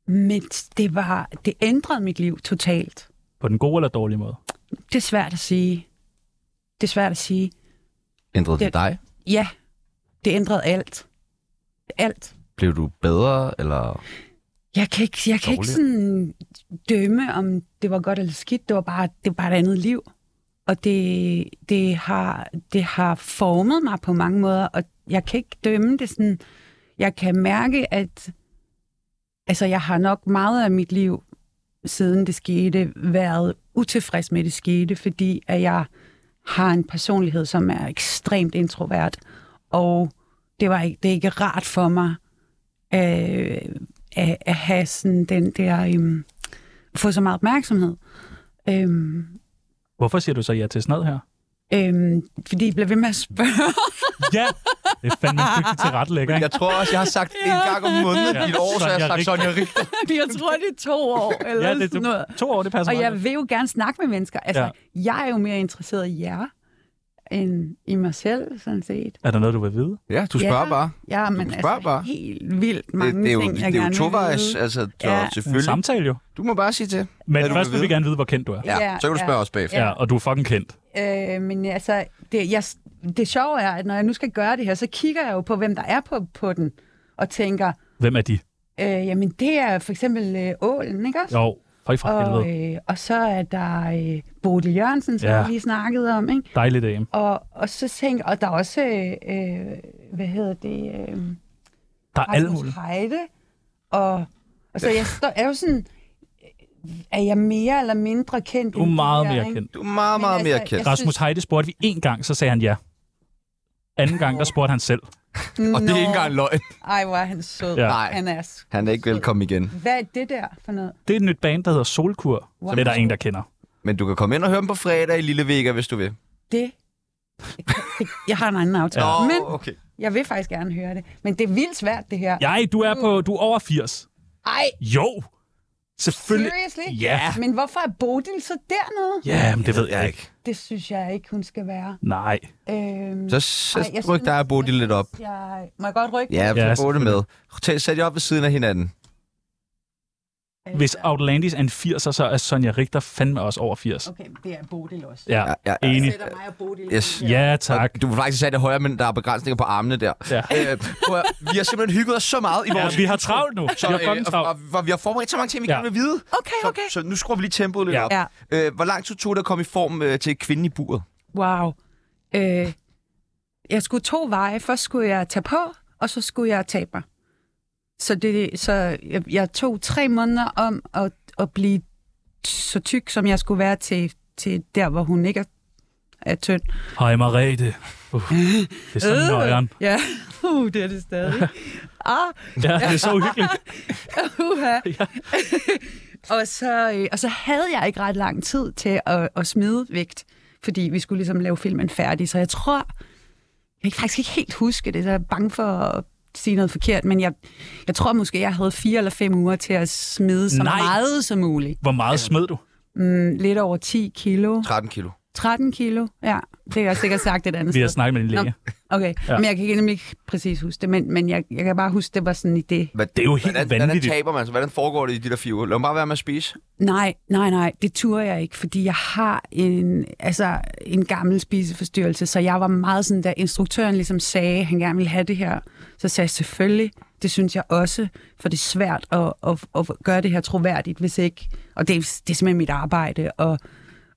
[SPEAKER 5] men det, var, det ændrede mit liv totalt.
[SPEAKER 4] På den gode eller dårlige måde?
[SPEAKER 5] Det er svært at sige. Det er svært at sige.
[SPEAKER 2] Ændrede det
[SPEAKER 5] Det-
[SPEAKER 2] dig?
[SPEAKER 5] Ja, det ændrede alt. Alt.
[SPEAKER 2] Blev du bedre, eller...
[SPEAKER 5] Jeg kan ikke, jeg kan ikke sådan dømme, om det var godt eller skidt. Det var bare, det var bare et andet liv. Og det, det, har, det har formet mig på mange måder, og jeg kan ikke dømme det sådan. Jeg kan mærke, at altså, jeg har nok meget af mit liv, siden det skete, været utilfreds med, at det skete, fordi at jeg har en personlighed, som er ekstremt introvert, og det, var ikke, det er ikke rart for mig øh, at, at have sådan den der, øhm, få så meget opmærksomhed. Øhm,
[SPEAKER 4] Hvorfor siger du så ja til sådan noget her?
[SPEAKER 5] øhm, fordi jeg bliver ved med at spørge.
[SPEAKER 4] Ja, Det er fandme en
[SPEAKER 2] *laughs*
[SPEAKER 4] dygtig tilrettelægger, ikke?
[SPEAKER 2] Jeg tror også, jeg har sagt en gang om måneden
[SPEAKER 4] Ja.
[SPEAKER 2] i et år, så jeg har
[SPEAKER 4] Sonja
[SPEAKER 2] sagt
[SPEAKER 4] Richter.
[SPEAKER 2] Sonja Richter.
[SPEAKER 5] jeg tror, det er to år, eller
[SPEAKER 4] Ja,
[SPEAKER 5] ja,
[SPEAKER 4] det,
[SPEAKER 5] sådan noget.
[SPEAKER 4] du, to år, det passer
[SPEAKER 5] Og
[SPEAKER 4] meget
[SPEAKER 5] jeg vil jo gerne snakke med mennesker. Altså,
[SPEAKER 4] Ja.
[SPEAKER 5] ja. jeg er jo mere interesseret i jer, end i mig selv, sådan set.
[SPEAKER 4] godt. Er der noget, du vil vide?
[SPEAKER 2] Ja, du spørger bare.
[SPEAKER 5] Ja, men
[SPEAKER 2] Du spørger
[SPEAKER 5] altså,
[SPEAKER 2] bare.
[SPEAKER 5] helt vildt mange
[SPEAKER 2] Det, det er jo,
[SPEAKER 5] ting, jeg
[SPEAKER 2] det er jo
[SPEAKER 5] gerne vil
[SPEAKER 2] tovejs,
[SPEAKER 5] vide.
[SPEAKER 2] altså, så
[SPEAKER 5] Ja.
[SPEAKER 4] En
[SPEAKER 2] selvfølgelig.
[SPEAKER 4] samtale jo.
[SPEAKER 2] Du må bare sige til.
[SPEAKER 4] Men
[SPEAKER 2] Hvad du
[SPEAKER 4] først
[SPEAKER 2] vil
[SPEAKER 4] vil vi
[SPEAKER 2] vide.
[SPEAKER 4] gerne vide, hvor kendt du er.
[SPEAKER 2] Ja,
[SPEAKER 5] Ja,
[SPEAKER 2] så kan du
[SPEAKER 5] ja.
[SPEAKER 2] spørge os bagefter.
[SPEAKER 4] Ja, og du er fucking kendt.
[SPEAKER 5] Øh, men altså, det, jeg, det sjove er, at når jeg nu skal gøre det her, så kigger jeg jo på, hvem der er på, på den, og tænker,
[SPEAKER 4] Hvem er de?
[SPEAKER 5] øh, jamen det er for eksempel øh, Ålen, ikke også?
[SPEAKER 4] Jo, for i fra helvede.
[SPEAKER 5] og, øh, og så er der øh, Bodil Jørgensen, som
[SPEAKER 4] Ja.
[SPEAKER 5] ja. vi lige snakkede om, ikke?
[SPEAKER 4] Dejlig dame.
[SPEAKER 5] Og, og så tænker, og der er også, øh, øh, hvad hedder det, øh,
[SPEAKER 4] Der er alle
[SPEAKER 5] Rasmus
[SPEAKER 4] mulige.
[SPEAKER 5] Heide, og, og så jeg står, er jo sådan, øh, er jeg mere eller mindre kendt?
[SPEAKER 4] Du er
[SPEAKER 5] end de
[SPEAKER 4] meget
[SPEAKER 5] her,
[SPEAKER 4] mere
[SPEAKER 5] ikke?
[SPEAKER 4] kendt.
[SPEAKER 2] Du er meget,
[SPEAKER 5] Men
[SPEAKER 2] meget
[SPEAKER 5] altså,
[SPEAKER 2] mere
[SPEAKER 5] jeg
[SPEAKER 2] kendt.
[SPEAKER 5] synes-
[SPEAKER 4] Rasmus Heide spurgte vi en gang, så sagde han ja. Anden gang, der spurgte han selv.
[SPEAKER 2] Og det er ikke
[SPEAKER 5] Nå.
[SPEAKER 2] engang løgn.
[SPEAKER 5] Ej, hvor er han sød.
[SPEAKER 4] Ja.
[SPEAKER 5] Ja.
[SPEAKER 2] Nej.
[SPEAKER 5] Han er sgu
[SPEAKER 2] Han er ikke
[SPEAKER 5] sød.
[SPEAKER 2] velkommen igen.
[SPEAKER 5] Hvad er det der for noget?
[SPEAKER 4] Det er et nyt band, der hedder Solkur.
[SPEAKER 5] Wow.
[SPEAKER 4] Det er der ingen, der kender.
[SPEAKER 2] Men du kan komme ind og høre dem på fredag i Lille Vega, hvis du vil.
[SPEAKER 5] Det. Jeg har en anden aftale.
[SPEAKER 2] Nå,
[SPEAKER 5] Ja. Men
[SPEAKER 2] okay.
[SPEAKER 5] jeg vil faktisk gerne høre det. Men det er vildt svært, det her.
[SPEAKER 4] Nej, du er på, du er over 80.
[SPEAKER 5] Ej,
[SPEAKER 4] Jo, selvfølgelig.
[SPEAKER 5] seriously?
[SPEAKER 4] Ja.
[SPEAKER 5] Men hvorfor er Bodil så dernede?
[SPEAKER 4] Ja, men det ved jeg ikke.
[SPEAKER 5] Det synes jeg ikke, hun skal være.
[SPEAKER 4] Nej.
[SPEAKER 5] Øhm,
[SPEAKER 2] Så, så
[SPEAKER 5] ej, jeg
[SPEAKER 2] ryk dig og
[SPEAKER 5] synes-
[SPEAKER 2] Bodil lidt op.
[SPEAKER 5] Jeg, må jeg godt rykke?
[SPEAKER 2] Ja,
[SPEAKER 4] Ja,
[SPEAKER 2] så få det med. Tag- Sæt jer op ved siden af hinanden.
[SPEAKER 5] Øh,
[SPEAKER 4] Øh, Hvis Outlandis er en 80'er, så er Sonja Richter fandme også over 80.
[SPEAKER 5] Okay, det er Bodil også.
[SPEAKER 4] Ja,
[SPEAKER 2] Ja, ja, ja.
[SPEAKER 4] enig.
[SPEAKER 5] Det er mig og Bodil.
[SPEAKER 2] Yes.
[SPEAKER 4] Ja, tak.
[SPEAKER 2] Du vil faktisk sætte det højere, men der er begrænsninger på armene der.
[SPEAKER 4] Ja.
[SPEAKER 2] Øh, prøv at, høre, vi har simpelthen hygget os så meget i
[SPEAKER 4] Ja,
[SPEAKER 2] vores...
[SPEAKER 4] vi har travlt nu.
[SPEAKER 2] Så, øh,
[SPEAKER 4] Vi har fucking
[SPEAKER 2] og, og,
[SPEAKER 4] travlt.
[SPEAKER 2] og, vi har forberedt så mange ting, vi
[SPEAKER 4] Ja.
[SPEAKER 2] ja. gerne vil vide.
[SPEAKER 5] Okay,
[SPEAKER 2] Så,
[SPEAKER 5] okay.
[SPEAKER 2] så nu skruer vi lige tempoet lidt
[SPEAKER 4] Ja.
[SPEAKER 2] op.
[SPEAKER 5] Ja.
[SPEAKER 2] Øh, hvor lang tid tog det at komme i form øh, til kvinden i buret?
[SPEAKER 5] Wow. Øh, jeg skulle to veje. Først skulle jeg tage på, og så skulle jeg tabe mig. Så, det, så jeg, jeg tog tre måneder om at, at blive t- så tyk, som jeg skulle være til, til der, hvor hun ikke er, er tynd.
[SPEAKER 4] Hej, Marete.
[SPEAKER 2] *laughs*
[SPEAKER 4] Uh,
[SPEAKER 2] Øh.
[SPEAKER 4] det er sådan nøjeren.
[SPEAKER 5] Ja, *laughs* uh, det er det
[SPEAKER 4] *laughs*
[SPEAKER 5] stadig. ah,
[SPEAKER 4] Ja, det er så uhyggeligt.
[SPEAKER 5] Uha. *laughs* og, så, øh, og så havde jeg ikke ret lang tid til at, at smide vægt, fordi vi skulle ligesom lave filmen færdig. Så jeg tror, jeg kan faktisk ikke helt huske det, så jeg er bange for at sige noget forkert, men jeg, jeg tror måske, jeg havde fire eller fem uger til at smide så
[SPEAKER 4] Nej.
[SPEAKER 5] meget som muligt.
[SPEAKER 4] Hvor meget smed du?
[SPEAKER 5] Mm, lidt over 10 kilo.
[SPEAKER 2] 13 kilo.
[SPEAKER 5] 13 kilo, ja. Det har jeg sikkert sagt et andet
[SPEAKER 4] Vi har
[SPEAKER 5] sted.
[SPEAKER 4] snakket med din læge.
[SPEAKER 5] Okay,
[SPEAKER 4] Ja.
[SPEAKER 5] ja. men jeg kan ikke nemlig ikke præcis huske det, men, men jeg, jeg kan bare huske, det var sådan i det
[SPEAKER 2] Hvad,
[SPEAKER 4] Det er jo helt
[SPEAKER 2] hvordan,
[SPEAKER 4] vanvittigt.
[SPEAKER 2] Hvordan taber man sig? Hvordan foregår det i de der fire uger? Lad mig bare være med at spise.
[SPEAKER 5] Nej, nej, nej, det turde jeg ikke, fordi jeg har en, altså, en gammel spiseforstyrrelse, så jeg var meget sådan, da instruktøren ligesom sagde, at han gerne ville have det her, så sagde jeg selvfølgelig, det synes jeg også, for det er svært at, at, at gøre det her troværdigt, hvis ikke, og det, er- det er simpelthen mit arbejde, at,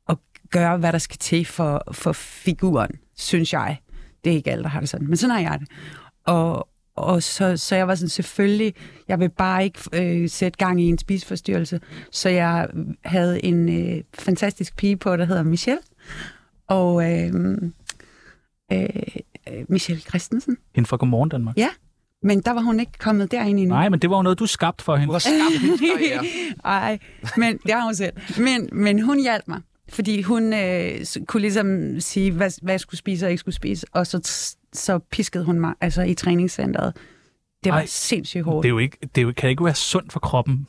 [SPEAKER 5] at gøre, hvad der skal til for, for figuren, synes jeg. Det er ikke alle, der har det sådan, men sådan har jeg det. Og, og så, så jeg var sådan, selvfølgelig, jeg vil bare ikke øh, sætte gang i en spiseforstyrrelse. Så jeg havde en øh, fantastisk pige på, der hedder Michelle. Og øh, øh, øh, Michelle Christensen.
[SPEAKER 4] Hende fra Godmorgen Danmark.
[SPEAKER 5] Ja, men der var hun ikke kommet derind endnu.
[SPEAKER 4] Nej, men det var jo noget, du skabte for hende.
[SPEAKER 2] Du har skabt en karriere.
[SPEAKER 5] Ej, men det har hun selv. Men, men hun hjalp mig, fordi hun øh, s- kunne ligesom sige, hvad, hvad jeg skulle spise og ikke skulle spise, og så, t- så piskede hun mig altså i træningscenteret. Det var
[SPEAKER 4] Ej,
[SPEAKER 5] Ej, sindssygt
[SPEAKER 4] Det,
[SPEAKER 5] hårdt.
[SPEAKER 4] er jo ikke, det er jo, kan ikke være sundt for kroppen.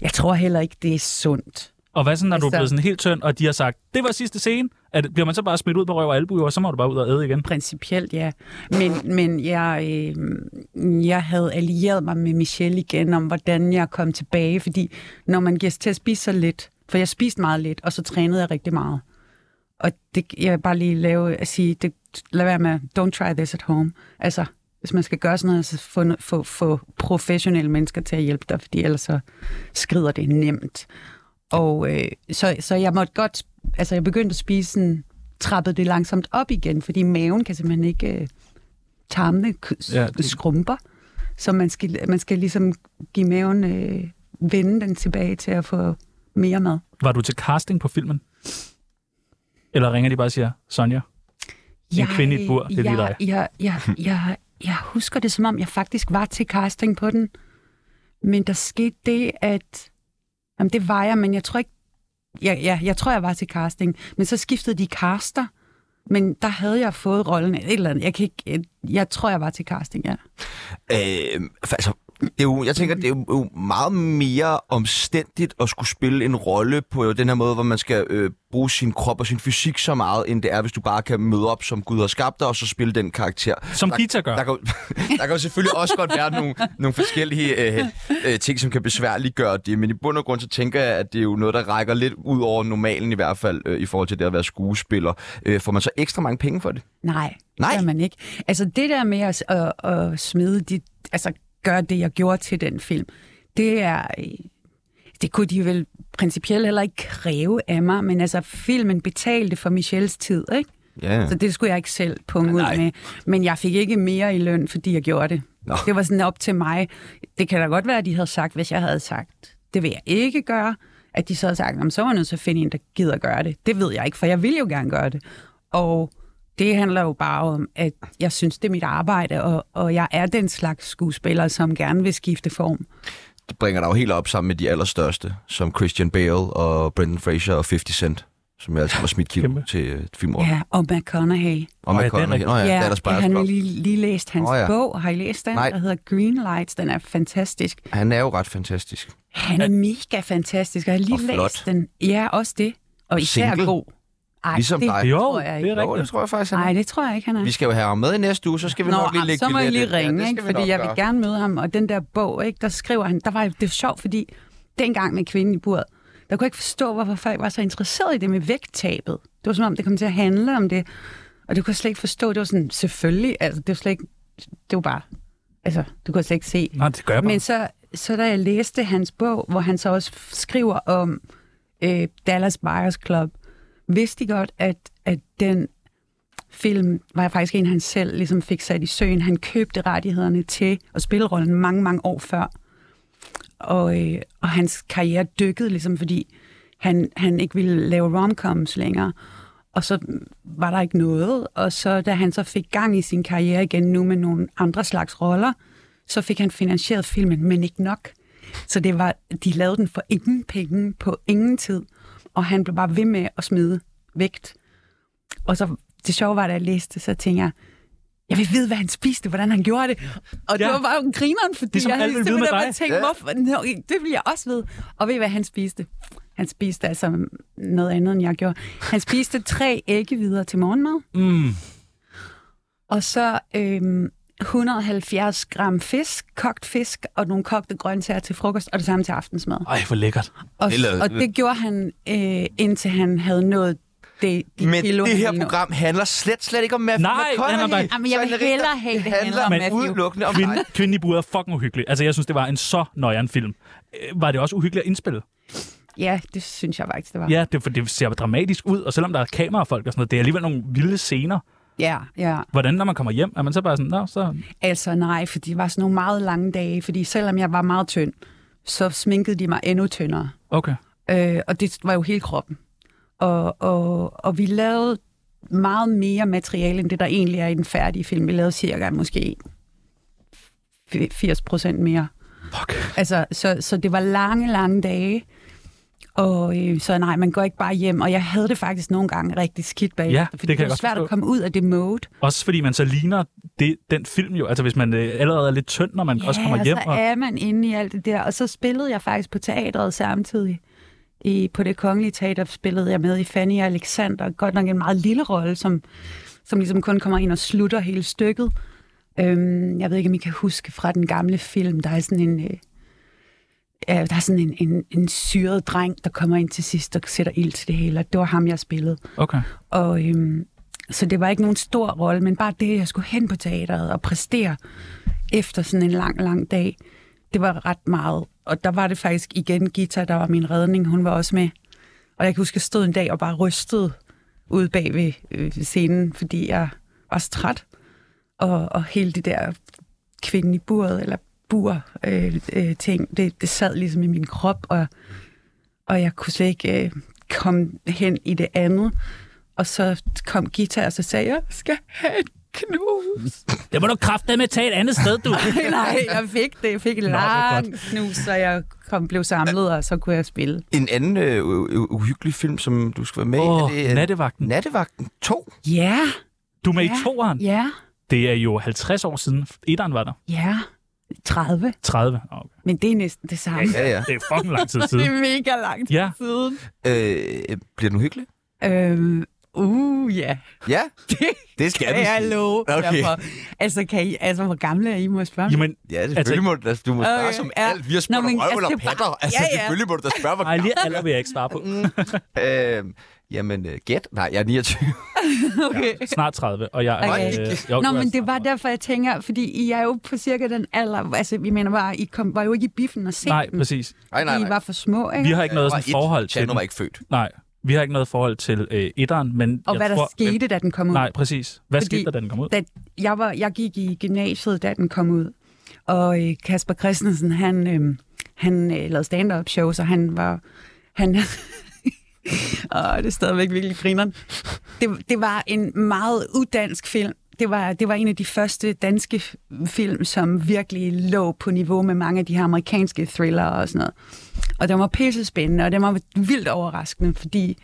[SPEAKER 5] Jeg tror heller ikke, det er sundt.
[SPEAKER 4] Og hvad så, når du er
[SPEAKER 5] Altså-
[SPEAKER 4] blevet sådan helt tynd, og de har sagt, det var sidste scene, at, bliver man så bare smidt ud på røv og albu, og så må du bare ud og æde igen?
[SPEAKER 5] Principielt, ja. Men, men jeg, øh, jeg havde allieret mig med Michelle igen om, hvordan jeg kom tilbage, fordi når man giver sig til at spise så lidt, for jeg spiste meget lidt, og så trænede jeg rigtig meget. Og det, jeg vil bare lige lave, at sige, det, lad være med, don't try this at home. Altså, hvis man skal gøre sådan noget, så få, få, få professionelle mennesker til at hjælpe dig, fordi ellers så skrider det nemt. Og øh, så, så jeg måtte godt, altså jeg begyndte at spise sådan, trappede det langsomt op igen, fordi maven kan simpelthen ikke, øh, tarmene k-
[SPEAKER 4] Ja,
[SPEAKER 5] ja,
[SPEAKER 4] det-
[SPEAKER 5] det... skrumper, så man skal, man skal ligesom give maven, øh, vende den tilbage til at få mere mad.
[SPEAKER 4] Var du til casting på filmen? Eller ringer de bare og siger, Sonja? En kvinde i et bur, det er lige
[SPEAKER 5] jeg,
[SPEAKER 4] dig.
[SPEAKER 5] Jeg, jeg, jeg, jeg husker det, som om jeg faktisk var til casting på den. Men der skete det, at... Jamen, det var jeg, men jeg tror ikke... Ja, ja, jeg tror, jeg var til casting. Men så skiftede de caster, Men der havde jeg fået rollen af et eller andet. Jeg, kan ikke, jeg tror, jeg var til casting, ja.
[SPEAKER 2] *laughs* Øh, altså, det er jo, jeg tænker, det er jo meget mere omstændigt at skulle spille en rolle på den her måde, hvor man skal øh, bruge sin krop og sin fysik så meget, end det er, hvis du bare kan møde op, som Gud har skabt dig, og så spille den karakter.
[SPEAKER 4] Som
[SPEAKER 2] der,
[SPEAKER 4] Gita gør.
[SPEAKER 2] Der kan, jo- *laughs* der kan jo selvfølgelig også godt være nogle, nogle forskellige øh, øh, ting, som kan besværliggøre det, men i bund og grund, så tænker jeg, at det er jo noget, der rækker lidt ud over normalen i hvert fald, øh, i forhold til det at være skuespiller. Øh, får man så ekstra mange penge for det?
[SPEAKER 5] Nej,
[SPEAKER 2] Nej?
[SPEAKER 5] det gør man ikke. Altså det der med at, at, at smide dit, altså gøre det, jeg gjorde til den film, det er, øh, det kunne de vel principielt heller ikke kræve af mig, men altså filmen betalte for Michelles tid, ikke?
[SPEAKER 2] Ja.
[SPEAKER 5] Så det skulle jeg ikke selv punge ud
[SPEAKER 2] Nej.
[SPEAKER 5] med. Men jeg fik ikke mere i løn, fordi jeg gjorde det.
[SPEAKER 2] Nå.
[SPEAKER 5] Det var sådan op til mig. Det kan da godt være, at de havde sagt, hvis jeg havde sagt, det vil jeg ikke gøre, at de så havde sagt, "Nå, så var jeg nødt til at finde en, der gider at gøre det. Det ved jeg ikke, for jeg vil jo gerne gøre det. Og det handler jo bare om, at jeg synes, det er mit arbejde, og, og jeg er den slags skuespiller, som gerne vil skifte form.
[SPEAKER 2] det bringer dig jo helt op sammen med de allerstørste, som Christian Bale og Brendan Fraser og 50 Cent, som jeg altså var smidt kilde
[SPEAKER 4] Kæmpe.
[SPEAKER 2] til øh, filmåret.
[SPEAKER 5] Ja, og McConaughey.
[SPEAKER 2] Og
[SPEAKER 4] Nå
[SPEAKER 2] man
[SPEAKER 4] ja, det er
[SPEAKER 2] kommer
[SPEAKER 4] rigtigt.
[SPEAKER 2] Nå ja, det er der Spiders
[SPEAKER 5] han har
[SPEAKER 2] Club.
[SPEAKER 5] lige, lige læst hans
[SPEAKER 2] Nå
[SPEAKER 5] oh,
[SPEAKER 2] ja.
[SPEAKER 5] ja. bog. Har I læst den?
[SPEAKER 2] Nej.
[SPEAKER 5] Der hedder Green Lights. Den er fantastisk.
[SPEAKER 2] Han er jo ret fantastisk.
[SPEAKER 5] Han er mega fantastisk, og jeg har lige
[SPEAKER 2] Og
[SPEAKER 5] læst
[SPEAKER 2] flot.
[SPEAKER 5] den. Ja, også det. Og især
[SPEAKER 2] Single.
[SPEAKER 5] god. Ej,
[SPEAKER 2] Ligesom
[SPEAKER 5] det
[SPEAKER 2] dig.
[SPEAKER 4] Jo,
[SPEAKER 5] tror jeg
[SPEAKER 4] det
[SPEAKER 5] ikke.
[SPEAKER 4] er
[SPEAKER 2] Jo, det
[SPEAKER 4] rigtigt.
[SPEAKER 2] tror jeg faktisk, han
[SPEAKER 5] Nej,
[SPEAKER 2] er.
[SPEAKER 5] det tror jeg ikke, han er.
[SPEAKER 2] Vi skal jo have ham med i næste uge, så skal vi
[SPEAKER 5] Nå,
[SPEAKER 2] nok lige
[SPEAKER 5] ah,
[SPEAKER 2] lægge
[SPEAKER 5] så må jeg lige
[SPEAKER 2] billetten. Ja,
[SPEAKER 5] ringe,
[SPEAKER 2] det
[SPEAKER 5] ja,
[SPEAKER 2] skal
[SPEAKER 5] ikke?
[SPEAKER 2] vi
[SPEAKER 5] fordi
[SPEAKER 2] nok
[SPEAKER 5] jeg
[SPEAKER 2] gøre.
[SPEAKER 5] vil gerne møde ham. Og den der bog, ikke, der skriver han, der var, det var sjovt, fordi dengang med kvinden i buret, der kunne jeg ikke forstå, hvorfor folk var så interesseret i det med vægttabet. Det var som om, det kom til at handle om det. Og det kunne jeg slet ikke forstå. Det var sådan, selvfølgelig, altså, det var slet ikke, det var bare, altså, det kunne jeg slet ikke se.
[SPEAKER 4] Nej, det gør jeg bare.
[SPEAKER 5] Men så, så da jeg læste hans bog, hvor han så også f- skriver om øh, Dallas Buyers Club, vidste de godt, at, at den film var faktisk en, han selv ligesom fik sat i søen. Han købte rettighederne til at spille rollen mange, mange år før. Og, øh, og hans karriere dykkede ligesom, fordi han, han ikke ville lave romcoms længere. Og så var der ikke noget, og så da han så fik gang i sin karriere igen nu med nogle andre slags roller, så fik han finansieret filmen, men ikke nok. Så det var, de lavede den for ingen penge på ingen tid, og han blev bare ved med at smide vægt. Og så det sjove var, da jeg læste, så tænkte jeg, jeg vil vide, hvad han spiste, hvordan han gjorde det. Og
[SPEAKER 4] Ja.
[SPEAKER 5] ja. det var bare jo grineren, fordi
[SPEAKER 4] Ligesom
[SPEAKER 5] jeg
[SPEAKER 4] alle vil vide med
[SPEAKER 5] simpelthen
[SPEAKER 4] dig.
[SPEAKER 5] bare tænkt,
[SPEAKER 2] Ja.
[SPEAKER 5] hvorfor? Nå, det vil jeg også vide. Og ved I, hvad han spiste? Han spiste altså noget andet, end jeg gjorde. Han spiste tre æggevidere til morgenmad.
[SPEAKER 4] Mm.
[SPEAKER 5] Og så øhm, 170 gram fisk, kogt fisk og nogle kogte grøntsager til frokost, og det samme til aftensmad.
[SPEAKER 4] Ej, hvor lækkert.
[SPEAKER 5] Og,
[SPEAKER 2] Det lyder-
[SPEAKER 5] og det gjorde han, øh, indtil han havde nået det, de
[SPEAKER 2] Men
[SPEAKER 5] kilo,
[SPEAKER 2] det
[SPEAKER 5] han
[SPEAKER 2] her
[SPEAKER 5] ville nå.
[SPEAKER 2] program handler slet, slet ikke om Matthew
[SPEAKER 4] Nej, det handler om dig.
[SPEAKER 5] Jamen, jeg vil hellere have, det handler om
[SPEAKER 2] handler
[SPEAKER 5] Matthew.
[SPEAKER 2] udelukkende om dig.
[SPEAKER 4] Kvinde, kvinden i buret er fucking uhyggelig. Altså, jeg synes, det var en så nøjeren film. Øh, Var det også uhyggeligt at indspille?
[SPEAKER 5] Ja, det synes jeg faktisk, det var.
[SPEAKER 4] Ja, det, for det ser dramatisk ud, og selvom der er kamerafolk og sådan noget, det er alligevel nogle vilde scener.
[SPEAKER 5] ja. ja.
[SPEAKER 4] Hvordan, når man kommer hjem, er man så bare sådan, nå, så...
[SPEAKER 5] Altså nej, for det var sådan nogle meget lange dage, fordi selvom jeg var meget tynd, så sminkede de mig endnu tyndere.
[SPEAKER 4] Okay.
[SPEAKER 5] Øh, og det var jo hele kroppen. Og, og, og vi lavede meget mere materiale, end det der egentlig er i den færdige film. Vi lavede cirka måske 80 procent mere.
[SPEAKER 4] Fuck.
[SPEAKER 5] Altså, så, så det var lange, lange dage. Og øh, så nej, man går ikke bare hjem. Og jeg havde det faktisk nogle gange rigtig skidt bag.
[SPEAKER 4] Ja, det
[SPEAKER 5] fordi
[SPEAKER 4] kan jeg
[SPEAKER 5] det var
[SPEAKER 4] godt
[SPEAKER 5] svært
[SPEAKER 4] forstå.
[SPEAKER 5] at komme ud af det mode.
[SPEAKER 4] Også fordi man så ligner det, den film jo. Altså, hvis man øh, allerede er lidt tynd, når man også kommer hjem.
[SPEAKER 5] og så
[SPEAKER 4] Og...
[SPEAKER 5] altså, er man inde i alt det der. Og så spillede jeg faktisk på teatret samtidig. I, på det kongelige teater spillede jeg med i Fanny og Alexander. Godt nok en meget lille rolle, som, som ligesom kun kommer ind og slutter hele stykket. Øhm, jeg ved ikke, om I kan huske fra den gamle film, der er sådan en... Øh, ja, der er sådan en, en, en syret dreng, der kommer ind til sidst og sætter ild til det hele, og det var ham, jeg spillede.
[SPEAKER 4] Okay.
[SPEAKER 5] Og øhm, så det var ikke nogen stor rolle, men bare det, at jeg skulle hen på teateret og præstere efter sådan en lang, lang dag, det var ret meget. Og der var det faktisk igen Gita, der var min redning. Hun var også med. Og jeg kan huske, jeg stod en dag og bare rystede ude bag ved øh, scenen, fordi jeg var så træt. Og, og hele det der kvinden i buret, eller bur øh, øh, ting, det, det sad ligesom i min krop, og, og jeg kunne slet ikke øh, komme hen i det andet. Og så kom Gita, og så sagde jeg, jeg skal have et knus.
[SPEAKER 4] Det må du kræfte med tage et andet sted,
[SPEAKER 2] *laughs*
[SPEAKER 4] du.
[SPEAKER 5] *laughs* Nej, nej, jeg fik det. Jeg fik et
[SPEAKER 4] hvor godt.
[SPEAKER 5] langt knus, så jeg kom, blev samlet, og så kunne jeg spille.
[SPEAKER 2] En anden øh, u- u- uhyggelig film, som du skal være med
[SPEAKER 4] Åh,
[SPEAKER 2] i, er det, øh,
[SPEAKER 4] nattevagten.
[SPEAKER 2] Nattevagten 2.
[SPEAKER 5] Ja,
[SPEAKER 4] Du er med i
[SPEAKER 5] Ja.
[SPEAKER 4] toeren.
[SPEAKER 5] ja,
[SPEAKER 4] Det er jo 50 år siden. Etteren var der.
[SPEAKER 5] ja. 30.
[SPEAKER 4] 30. Åh, Okay.
[SPEAKER 5] Men det er næsten det samme.
[SPEAKER 2] Ja, ja.
[SPEAKER 4] Det er fucking lang tid
[SPEAKER 5] Det
[SPEAKER 4] siden.
[SPEAKER 5] er mega langt
[SPEAKER 4] Ja.
[SPEAKER 5] siden.
[SPEAKER 2] Øh, bliver den uhyggelig?
[SPEAKER 5] Øhm, uh, ja.
[SPEAKER 2] Ja, *laughs*
[SPEAKER 5] Det
[SPEAKER 2] det skal
[SPEAKER 5] kan
[SPEAKER 2] vi
[SPEAKER 5] jeg
[SPEAKER 2] sige.
[SPEAKER 5] love.
[SPEAKER 2] Okay.
[SPEAKER 5] Derfor. Altså, kan I, altså, hvor gamle er I, må jeg spørge?
[SPEAKER 4] Jamen,
[SPEAKER 2] Ja, selvfølgelig må du, altså, du må
[SPEAKER 5] Okay,
[SPEAKER 2] spørge okay, som
[SPEAKER 5] ja.
[SPEAKER 2] alt. Vi har spurgt
[SPEAKER 5] Nå, men
[SPEAKER 2] om røv
[SPEAKER 5] altså,
[SPEAKER 2] eller
[SPEAKER 5] det er bare-
[SPEAKER 2] patter. Altså,
[SPEAKER 5] Ja, ja.
[SPEAKER 2] selvfølgelig må du da spørge, hvor *laughs*
[SPEAKER 4] ej, lige alder vil jeg ikke svare på.
[SPEAKER 2] gammel. Øh, jamen, øh, gæt. Nej, jeg er 29.
[SPEAKER 5] okay.
[SPEAKER 4] Snart 30, og jeg er... jo,
[SPEAKER 5] Okay. Nå,
[SPEAKER 4] jeg er
[SPEAKER 5] men
[SPEAKER 4] snart
[SPEAKER 5] det var
[SPEAKER 4] 30.
[SPEAKER 5] derfor, jeg tænker, fordi I er jo på cirka den alder. Altså, vi mener bare, I kom, var jo ikke i biffen og se
[SPEAKER 4] Nej,
[SPEAKER 5] den.
[SPEAKER 2] *laughs*
[SPEAKER 4] præcis.
[SPEAKER 2] Nej, nej,
[SPEAKER 5] I
[SPEAKER 2] nej.
[SPEAKER 5] var for små, ikke?
[SPEAKER 4] Vi har ikke noget
[SPEAKER 2] Jeg var
[SPEAKER 4] sådan
[SPEAKER 2] et.
[SPEAKER 4] forhold til
[SPEAKER 2] Tjerno
[SPEAKER 4] den.
[SPEAKER 2] var ikke født.
[SPEAKER 4] Nej, vi har ikke noget forhold til øh, etteren, men
[SPEAKER 5] Og
[SPEAKER 4] jeg
[SPEAKER 5] hvad der
[SPEAKER 4] tror,
[SPEAKER 5] skete, da den kom ud.
[SPEAKER 4] Nej, præcis. Hvad
[SPEAKER 5] Fordi-
[SPEAKER 4] skete der, da den kom ud?
[SPEAKER 5] Da jeg, var, jeg gik i gymnasiet, da den kom ud. Og øh, Kasper Christensen, han, øh, han øh, lavede stand-up shows, og han var... Han, *laughs* Åh, det er stadigvæk virkelig grineren. Det, det var en meget udansk film. Det var, det var en af de første danske film, som virkelig lå på niveau med mange af de her amerikanske thriller og sådan noget. Og den var pisse spændende, og den var vildt overraskende, fordi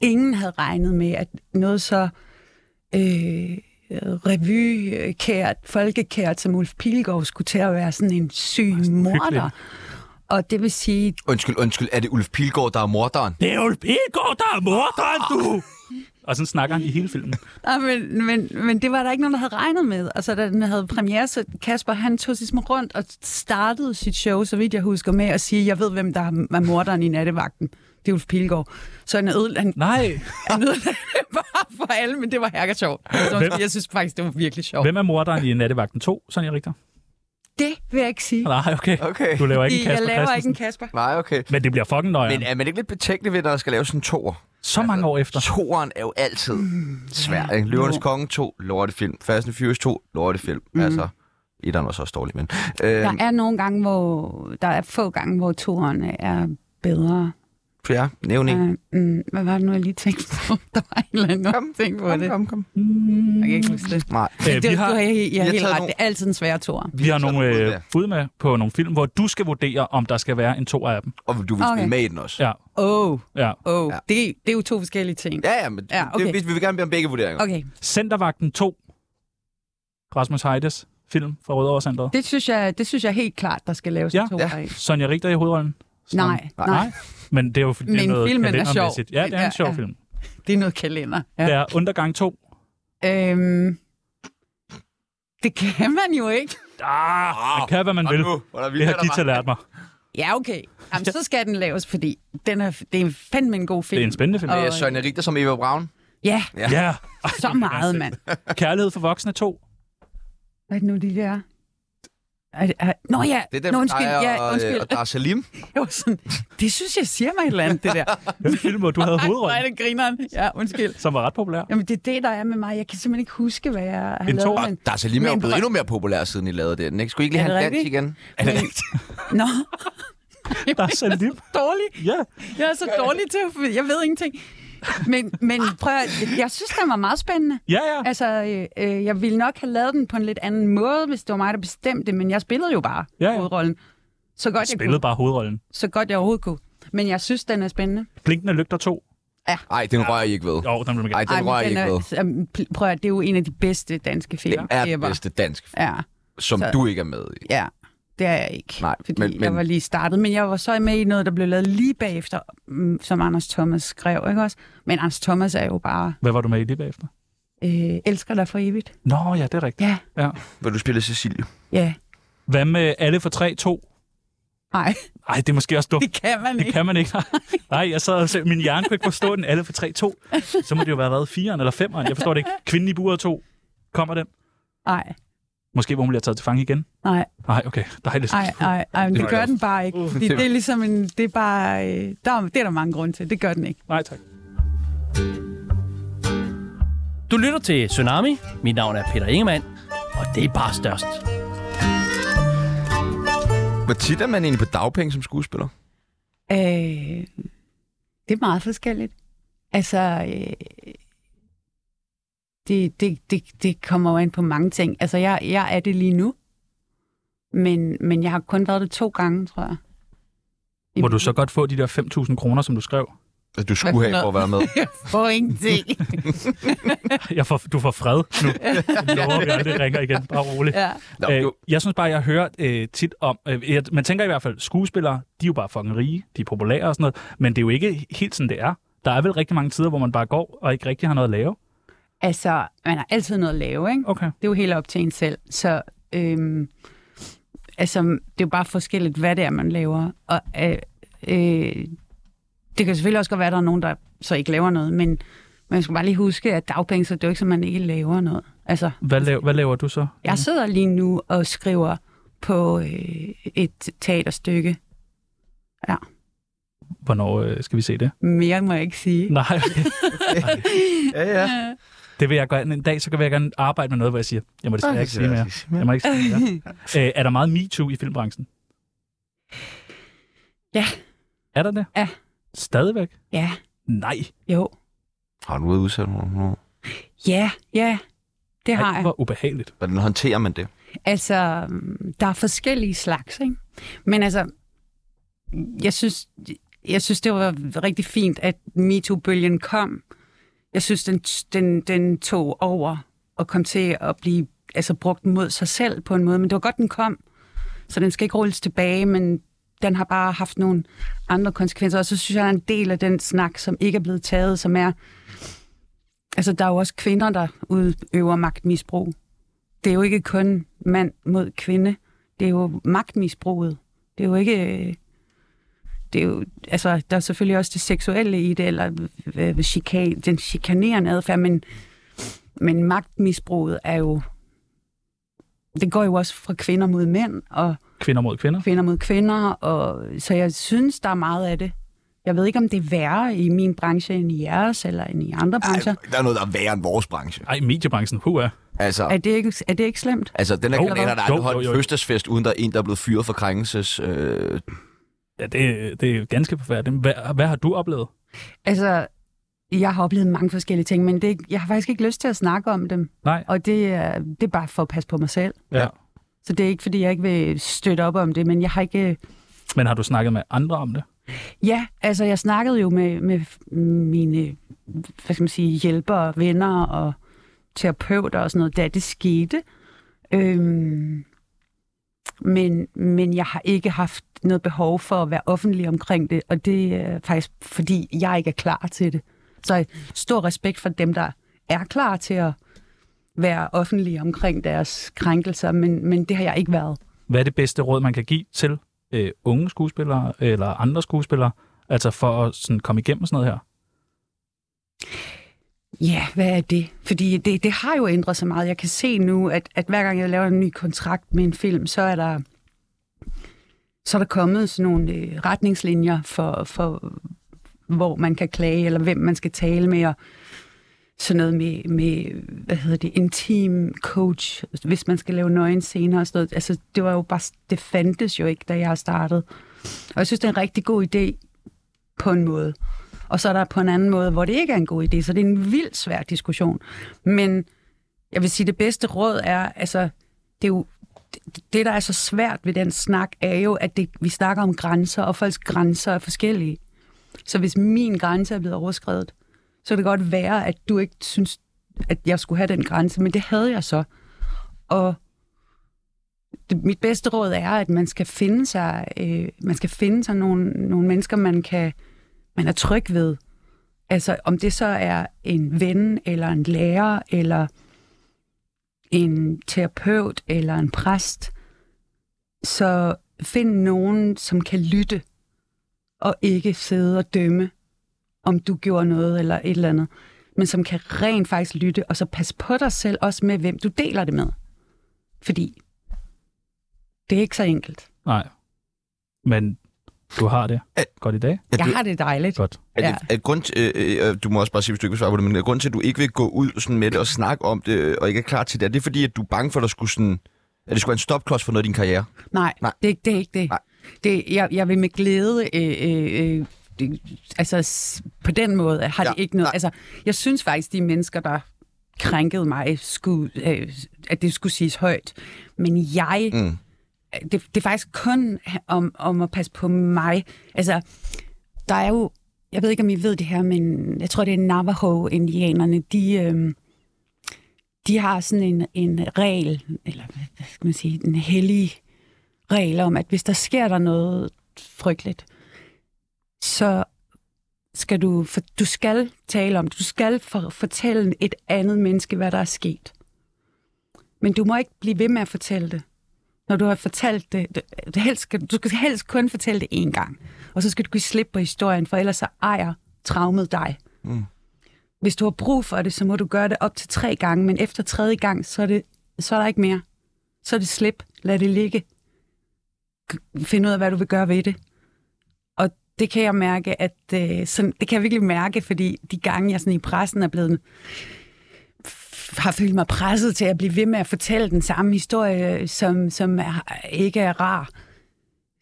[SPEAKER 5] ingen havde regnet med, at noget så øh, revykært, folkekært som Ulf Pilgaard skulle til at være sådan en syg morder.
[SPEAKER 4] hyggeligt.
[SPEAKER 5] Og det vil sige,
[SPEAKER 2] Undskyld, undskyld. Er det Ulf Pilgaard, der er morderen?
[SPEAKER 4] Det er Ulf Pilgaard, der er morderen, du! Og sådan snakker han i hele filmen.
[SPEAKER 5] Nej, men, men, men det var der ikke nogen, der havde regnet med. Og så da den havde premiere, så Kasper han tog sig ligesom rundt og startede sit show, så vidt jeg husker, med at sige, jeg ved, hvem der er er morderen i nattevagten. Det er Ulf Pilgaard. Så han ødelagde han,
[SPEAKER 4] Nej, *laughs*
[SPEAKER 5] han ødelagde det bare for alle, men det var herker sjovt. Så
[SPEAKER 4] Hvem-
[SPEAKER 5] Jeg synes faktisk, det var virkelig sjovt.
[SPEAKER 4] hvem er morderen i Nattevagten 2, Sonja Richter?
[SPEAKER 5] Det vil jeg ikke sige.
[SPEAKER 4] Nej, okay.
[SPEAKER 2] Okay.
[SPEAKER 4] Du laver ikke en
[SPEAKER 5] Fordi jeg
[SPEAKER 4] Kasper
[SPEAKER 5] laver ikke
[SPEAKER 4] Christensen.
[SPEAKER 5] en Kasper.
[SPEAKER 2] Nej, okay.
[SPEAKER 4] Men det bliver fucking
[SPEAKER 2] Men altså-
[SPEAKER 4] nøjeren.
[SPEAKER 2] er man ikke lidt betænkelig ved, når der skal lave sådan en toer?
[SPEAKER 4] Så mange år efter.
[SPEAKER 2] Toeren er jo altid svær. Ikke? Løvernes Konge 2, lortefilm. Fast and Furious 2, lortefilm. Mm. Altså, etteren var så også dårlig, men... Øh,
[SPEAKER 5] Der er nogle gange, hvor der er få gange, hvor toeren er bedre.
[SPEAKER 2] ja, nævn en.
[SPEAKER 5] Øh, mm, hvad var det nu, jeg lige tænkte på? *laughs* Der var en eller anden
[SPEAKER 2] Kom,
[SPEAKER 5] ting på det.
[SPEAKER 2] Kom, kom.
[SPEAKER 5] Jeg kan ikke huske det.
[SPEAKER 2] Nej.
[SPEAKER 4] Øh,
[SPEAKER 5] Det,
[SPEAKER 4] vi
[SPEAKER 5] du
[SPEAKER 4] har,
[SPEAKER 5] har, I har
[SPEAKER 2] har
[SPEAKER 5] helt
[SPEAKER 2] taget
[SPEAKER 5] ret.
[SPEAKER 2] nogle-
[SPEAKER 5] Det er altid en svær tor.
[SPEAKER 4] vi har nogle
[SPEAKER 2] taget nogle
[SPEAKER 4] øh, bud med på nogle film, hvor du skal vurdere, om der skal være en to af dem.
[SPEAKER 2] Og du vil okay.
[SPEAKER 5] Okay.
[SPEAKER 2] spille med i den også.
[SPEAKER 4] Ja,
[SPEAKER 5] Åh, oh,
[SPEAKER 4] ja.
[SPEAKER 5] åh. Oh.
[SPEAKER 2] Ja.
[SPEAKER 5] Det, det er jo to forskellige ting.
[SPEAKER 2] Ja, ja, men
[SPEAKER 5] Ja,
[SPEAKER 2] ja, okay.
[SPEAKER 5] okay.
[SPEAKER 2] det, vi, vi vil gerne bede om begge vurderinger.
[SPEAKER 5] Okay,
[SPEAKER 4] Centervagten 2. Rasmus Heides film fra Rødovre Centeret.
[SPEAKER 5] det synes, jeg, det synes jeg helt klart, der skal laves
[SPEAKER 4] Ja.
[SPEAKER 5] ja. to
[SPEAKER 2] Ja.
[SPEAKER 5] ja.
[SPEAKER 4] Sonja Richter i hovedrollen. Som-
[SPEAKER 5] Nej, nej,
[SPEAKER 4] nej. Men det er jo det er
[SPEAKER 5] Men
[SPEAKER 4] noget
[SPEAKER 5] filmen er sjov.
[SPEAKER 4] kalendermæssigt. Ja, det er
[SPEAKER 5] Ja,
[SPEAKER 4] en sjov
[SPEAKER 5] ja.
[SPEAKER 4] film.
[SPEAKER 5] det er noget kalender. Ja.
[SPEAKER 4] Det er Undergang 2.
[SPEAKER 5] Øhm, det kan man jo ikke.
[SPEAKER 4] Ah, man kan, hvad man
[SPEAKER 2] Og
[SPEAKER 4] vil.
[SPEAKER 2] nu, hvor der
[SPEAKER 4] Det
[SPEAKER 2] vildt,
[SPEAKER 4] har
[SPEAKER 2] der
[SPEAKER 4] Gita
[SPEAKER 2] var.
[SPEAKER 4] lært mig.
[SPEAKER 5] Ja, okay. Jamen, så skal den laves, fordi den er, det er fandme en god film.
[SPEAKER 4] Det er en spændende film.
[SPEAKER 5] Og- øh,
[SPEAKER 2] Med Sonja Richter som Eva Braun.
[SPEAKER 5] Ja,
[SPEAKER 4] Ja.
[SPEAKER 5] så meget, mand.
[SPEAKER 4] Kærlighed for voksne 2.
[SPEAKER 5] Hvad er det nu, de der... Er det- er- Nå ja,
[SPEAKER 2] Det er den,
[SPEAKER 5] Nå,
[SPEAKER 2] med
[SPEAKER 5] undskyld.
[SPEAKER 2] dig og,
[SPEAKER 5] Ja,
[SPEAKER 2] øh,
[SPEAKER 5] undskyld.
[SPEAKER 2] og Dar Salim.
[SPEAKER 5] *laughs* Jeg var sådan, det synes jeg siger mig et eller andet, det
[SPEAKER 2] *laughs*
[SPEAKER 5] der.
[SPEAKER 4] Det er en film, hvor du havde
[SPEAKER 5] *laughs* Nej,
[SPEAKER 4] hovedrollen,
[SPEAKER 5] det grineren. Ja, undskyld.
[SPEAKER 4] som var ret populær.
[SPEAKER 5] Jamen, det er det, der er med mig. Jeg kan simpelthen ikke huske, hvad jeg har
[SPEAKER 4] En
[SPEAKER 5] lavet.
[SPEAKER 4] toer.
[SPEAKER 5] Men...
[SPEAKER 2] Dar Salim er jo
[SPEAKER 5] Men
[SPEAKER 2] blevet
[SPEAKER 5] prøv-
[SPEAKER 2] endnu mere populær, siden I lavede den. Ikke? Skulle I ikke lige
[SPEAKER 5] Er
[SPEAKER 2] have
[SPEAKER 5] det
[SPEAKER 2] en dansk
[SPEAKER 5] rigtigt?
[SPEAKER 2] igen?
[SPEAKER 4] Er det rigtigt?
[SPEAKER 5] Nå,
[SPEAKER 4] Der er Salim.
[SPEAKER 5] dårlig.
[SPEAKER 4] Ja.
[SPEAKER 5] Jeg er så dårlig til at... Jeg ved ingenting. Men, men prøv at... Jeg synes, den var meget spændende.
[SPEAKER 4] Ja, ja.
[SPEAKER 5] Altså, øh, øh, jeg ville nok have lavet den på en lidt anden måde, hvis det var mig, der bestemte det, men jeg spillede jo bare
[SPEAKER 4] Ja,
[SPEAKER 5] ja,
[SPEAKER 4] ja.
[SPEAKER 5] ja. hovedrollen. Så godt, jeg
[SPEAKER 4] Spillede
[SPEAKER 5] kunne,
[SPEAKER 4] bare hovedrollen.
[SPEAKER 5] så godt jeg overhovedet kunne. Men jeg synes, den er spændende.
[SPEAKER 4] Blinkende lygter 2.
[SPEAKER 2] Nej, den rører I ikke ved.
[SPEAKER 4] Jo, den vil man
[SPEAKER 2] Nej,
[SPEAKER 4] gerne.
[SPEAKER 2] den
[SPEAKER 5] men
[SPEAKER 2] rører I ikke ved.
[SPEAKER 5] er, jamen, pl- prøv at det er jo en af de bedste danske film.
[SPEAKER 2] Den er den
[SPEAKER 5] ever.
[SPEAKER 2] bedste dansk,
[SPEAKER 5] Ja,
[SPEAKER 2] som
[SPEAKER 5] Så-
[SPEAKER 2] du ikke er med i.
[SPEAKER 5] ja. Det er jeg ikke,
[SPEAKER 2] Nej,
[SPEAKER 5] fordi
[SPEAKER 2] men-
[SPEAKER 5] men,
[SPEAKER 2] men-
[SPEAKER 5] men... jeg var lige startet. Men jeg var så med i noget, der blev lavet lige bagefter, mm, som Anders Thomas skrev, ikke også? Men Anders Thomas er jo bare,
[SPEAKER 4] Hvad var du med i lige bagefter?
[SPEAKER 5] øh, elsker dig for evigt.
[SPEAKER 4] Nå, ja, det er rigtigt.
[SPEAKER 5] Ja,
[SPEAKER 2] Hvor du spiller Cecilie.
[SPEAKER 5] ja.
[SPEAKER 4] Hvad med Alle for 3, 2?
[SPEAKER 5] Nej, *laughs*
[SPEAKER 4] Ej, det er måske også dumt.
[SPEAKER 5] det kan man
[SPEAKER 4] Det
[SPEAKER 5] ikke.
[SPEAKER 4] kan man ikke. Nej, jeg sad og sagde, min hjerne kunne ikke forstå den alle for 3, 2. Så må det jo være været 4'eren eller 5'eren. Jeg forstår det ikke. Kvinden i buret 2. Kommer den?
[SPEAKER 5] Nej,
[SPEAKER 4] Måske, hvor hun bliver taget til fange igen?
[SPEAKER 5] nej.
[SPEAKER 4] Nej, okay. Dejligt.
[SPEAKER 5] Ej, ej, ej, men
[SPEAKER 4] Det
[SPEAKER 5] det,
[SPEAKER 4] var
[SPEAKER 5] gør
[SPEAKER 4] godt.
[SPEAKER 5] den bare ikke. Fordi det er ligesom en, det er bare, øh, der, er- det er der mange grunde til. Det gør den ikke.
[SPEAKER 4] Nej, tak.
[SPEAKER 9] Du lytter til Tsunami. Mit navn er Peter Ingemann, og det er bare størst.
[SPEAKER 2] Hvor tit er man egentlig på dagpenge som skuespiller?
[SPEAKER 5] Øh, det er meget forskelligt. Altså, øh, det, det, det, det kommer jo an på mange ting. Altså, jeg, jeg er det lige nu, men, men jeg har kun været det to gange, tror jeg.
[SPEAKER 4] Må du så godt få de der 5.000 kroner, som du skrev?
[SPEAKER 2] at Altså, du skulle have for at være med.
[SPEAKER 5] *laughs* For
[SPEAKER 4] *laughs*
[SPEAKER 5] ingenting.
[SPEAKER 4] Jeg får, du får fred nu. Jeg lover, vi aldrig ringer igen. Bare roligt.
[SPEAKER 5] ja.
[SPEAKER 2] Nå,
[SPEAKER 4] Øh,
[SPEAKER 2] jo,
[SPEAKER 4] jeg synes bare, jeg hører øh, tit om... Øh, jeg, man tænker i hvert fald, skuespillere, de er jo bare fucking rige, de er populære og sådan noget, men det er jo ikke helt sådan, det er. Der er vel rigtig mange tider, hvor man bare går og ikke rigtig har noget at lave.
[SPEAKER 5] Altså, man har altid noget at lave, ikke?
[SPEAKER 4] Okay.
[SPEAKER 5] Det er jo helt op til en selv. Så øhm, altså, det er jo bare forskelligt, hvad det er, man laver. Og øh, øh, det kan selvfølgelig også godt være, at der er nogen, der så ikke laver noget, men man skal bare lige huske, at dagpenge, så det er jo ikke, så man ikke laver noget. Altså,
[SPEAKER 4] Hvad, laver, hvad laver du så?
[SPEAKER 5] jeg sidder lige nu og skriver på øh, et teaterstykke.
[SPEAKER 4] Hvornår øh, skal vi se det? *laughs*
[SPEAKER 5] Mere må jeg ikke sige.
[SPEAKER 4] Nej, okay.
[SPEAKER 2] ja, ja.
[SPEAKER 4] det vil jeg gerne. En dag, så vil jeg gerne arbejde med noget, hvor jeg siger, jeg må det skal jeg ikke sige mere. Jeg må ikke sige
[SPEAKER 5] *laughs*
[SPEAKER 4] mere. Øh, er der meget MeToo i filmbranchen?
[SPEAKER 5] Ja.
[SPEAKER 4] Er der det?
[SPEAKER 5] Ja.
[SPEAKER 4] Stadigvæk?
[SPEAKER 5] *laughs* Ja,
[SPEAKER 4] Nej.
[SPEAKER 5] jo.
[SPEAKER 2] Har du været udsat for noget?
[SPEAKER 5] Ja, ja. Det har
[SPEAKER 4] Ej,
[SPEAKER 5] jeg.
[SPEAKER 4] hvor ubehageligt.
[SPEAKER 2] Hvordan håndterer man det?
[SPEAKER 5] Altså, mm, der er forskellige slags, ikke? Men altså, jeg synes, jeg synes det var rigtig fint, at MeToo-bølgen kom. Jeg synes, den, den, den tog over og kom til at blive altså, brugt mod sig selv på en måde. Men det var godt, den kom. Så den skal ikke rulles tilbage, men den har bare haft nogle andre konsekvenser. Og så synes jeg, der er en del af den snak, som ikke er blevet taget, som er... Altså, der er jo også kvinder, der udøver magtmisbrug det er jo ikke kun mand mod kvinde. Det er jo magtmisbruget. Det er jo ikke... øh, Det er jo, altså, der er selvfølgelig også det seksuelle i det, eller øh, chika- den chikanerende adfærd, men, men magtmisbruget er jo... Det går jo også fra kvinder mod mænd, og
[SPEAKER 4] Kvinder mod kvinder?
[SPEAKER 5] kvinder mod kvinder, og, så jeg synes, der er meget af det. Jeg ved ikke, om det er værre i min branche end i jeres, eller end i andre brancher.
[SPEAKER 2] Der er noget, der er værre end vores branche.
[SPEAKER 4] Ej, mediebranchen, hua.
[SPEAKER 2] Altså,
[SPEAKER 5] Er det ikke, er det ikke slemt?
[SPEAKER 2] altså den her
[SPEAKER 4] Jo,
[SPEAKER 2] kanaler, der
[SPEAKER 4] jo,
[SPEAKER 2] har holdt
[SPEAKER 4] jo, jo.
[SPEAKER 2] fødselsfest, uden der er en, der er blevet fyret for krænkelses... Øh,
[SPEAKER 4] Ja, det, det er jo ganske forfærdeligt. Hvad, hvad har du oplevet?
[SPEAKER 5] Altså, jeg har oplevet mange forskellige ting, men det, er ikke- jeg har faktisk ikke lyst til at snakke om dem.
[SPEAKER 4] Nej.
[SPEAKER 5] Og det er, det er bare for at passe på mig selv.
[SPEAKER 4] Ja.
[SPEAKER 5] Så det er ikke, fordi jeg ikke vil støtte op om det, men jeg har ikke...
[SPEAKER 4] Men har du snakket med andre om det?
[SPEAKER 5] Ja, altså jeg snakkede jo med, med mine hvad skal man sige, hjælpere, venner og terapeuter og sådan noget, da det skete. Øhm, men, men jeg har ikke haft noget behov for at være offentlig omkring det, og det er faktisk, fordi jeg ikke er klar til det. Så stor respekt for dem, der er klar til at være offentlige omkring deres krænkelser, men, men det har jeg ikke været.
[SPEAKER 4] Hvad er det bedste råd, man kan give til øh, unge skuespillere eller andre skuespillere, altså for at sådan, komme igennem sådan noget her?
[SPEAKER 5] Ja, hvad er det? Fordi det, det har jo ændret sig meget. Jeg kan se nu, at, at hver gang jeg laver en ny kontrakt med en film, så er der, så er der kommet sådan nogle øh, retningslinjer for, for, hvor man kan klage, eller hvem man skal tale med, og sådan noget med, med hvad hedder det, intim coach, hvis man skal lave nøgen scener og sådan noget. Altså, det var jo bare, det fandtes jo ikke, da jeg startede. Og jeg synes, det er en rigtig god idé på en måde. Og så er der på en anden måde, hvor det ikke er en god idé. Så det er en vildt svær diskussion. Men jeg vil sige, det bedste råd er, altså, det er jo det- det, der er så svært ved den snak, er jo, at det, vi snakker om grænser, og folks grænser er forskellige. Så hvis min grænse er blevet overskrevet, så kan det godt være, at du ikke synes, at jeg skulle have den grænse, men det havde jeg så. Og det, mit bedste råd er, at man skal finde sig, øh, man skal finde sig nogle, nogle mennesker, man kan man er tryg ved. Altså om det så er en ven, eller en lærer, eller en terapeut, eller en præst. Så find nogen, som kan lytte, og ikke sidde og dømme, om du gjorde noget eller et eller andet, men som kan rent faktisk lytte, og så passe på dig selv også med, hvem du deler det med. Fordi det er ikke så enkelt.
[SPEAKER 4] Nej. Men du har det godt i dag.
[SPEAKER 2] er
[SPEAKER 5] Jeg
[SPEAKER 2] det,
[SPEAKER 5] har det dejligt.
[SPEAKER 4] Godt.
[SPEAKER 2] er
[SPEAKER 5] Ja.
[SPEAKER 2] det, er grund til, øh, øh, du må også bare sige, hvis du ikke vil svare på det, men er grund til, at du ikke vil gå ud sådan med det og snakke om det, øh, og ikke er klar til det, er det fordi, at du er bange for, at, der skulle sådan, at det skulle være en stopklods for noget af din karriere?
[SPEAKER 5] Nej,
[SPEAKER 2] Nej.
[SPEAKER 5] Nej. Det, er ikke- det er ikke det.
[SPEAKER 2] Nej.
[SPEAKER 5] det jeg, jeg vil med glæde... Øh, øh, øh, det- altså, s- på den måde har
[SPEAKER 2] Ja,
[SPEAKER 5] ja, det ikke noget...
[SPEAKER 2] nej.
[SPEAKER 5] Altså, jeg synes faktisk, de mennesker, der krænkede mig, skulle, øh, at det skulle siges højt. Men jeg,
[SPEAKER 2] Mm.
[SPEAKER 5] mm. det, det er faktisk kun om, om at passe på mig. Altså, der er jo, jeg ved ikke, om I ved det her, men jeg tror, det er Navajo-indianerne, de, øh, de har sådan en, en regel, eller hvad hvad skal man sige, en hellig regel om, at hvis der sker der noget frygteligt, så skal du, for, du skal tale om, det. du skal for, fortælle et andet menneske, hvad der er sket. Men du må ikke blive ved med at fortælle det. Når du har fortalt det, du, du, helst skal, du skal helst kun fortælle det én gang. Og så skal du give slip på historien, for ellers så ejer traumet dig. Mm. Hvis du har brug for det, så må du gøre det op til tre gange, men efter tredje gang, så er, det, så er der ikke mere. Så er det slip. Lad det ligge. G- Find ud af, hvad du vil gøre ved det. Og det kan jeg mærke, at øh, sådan, det kan jeg virkelig mærke, fordi de gange, jeg sådan i pressen er blevet f- har følt mig presset til at blive ved med at fortælle den samme historie, som, som er, ikke er rar,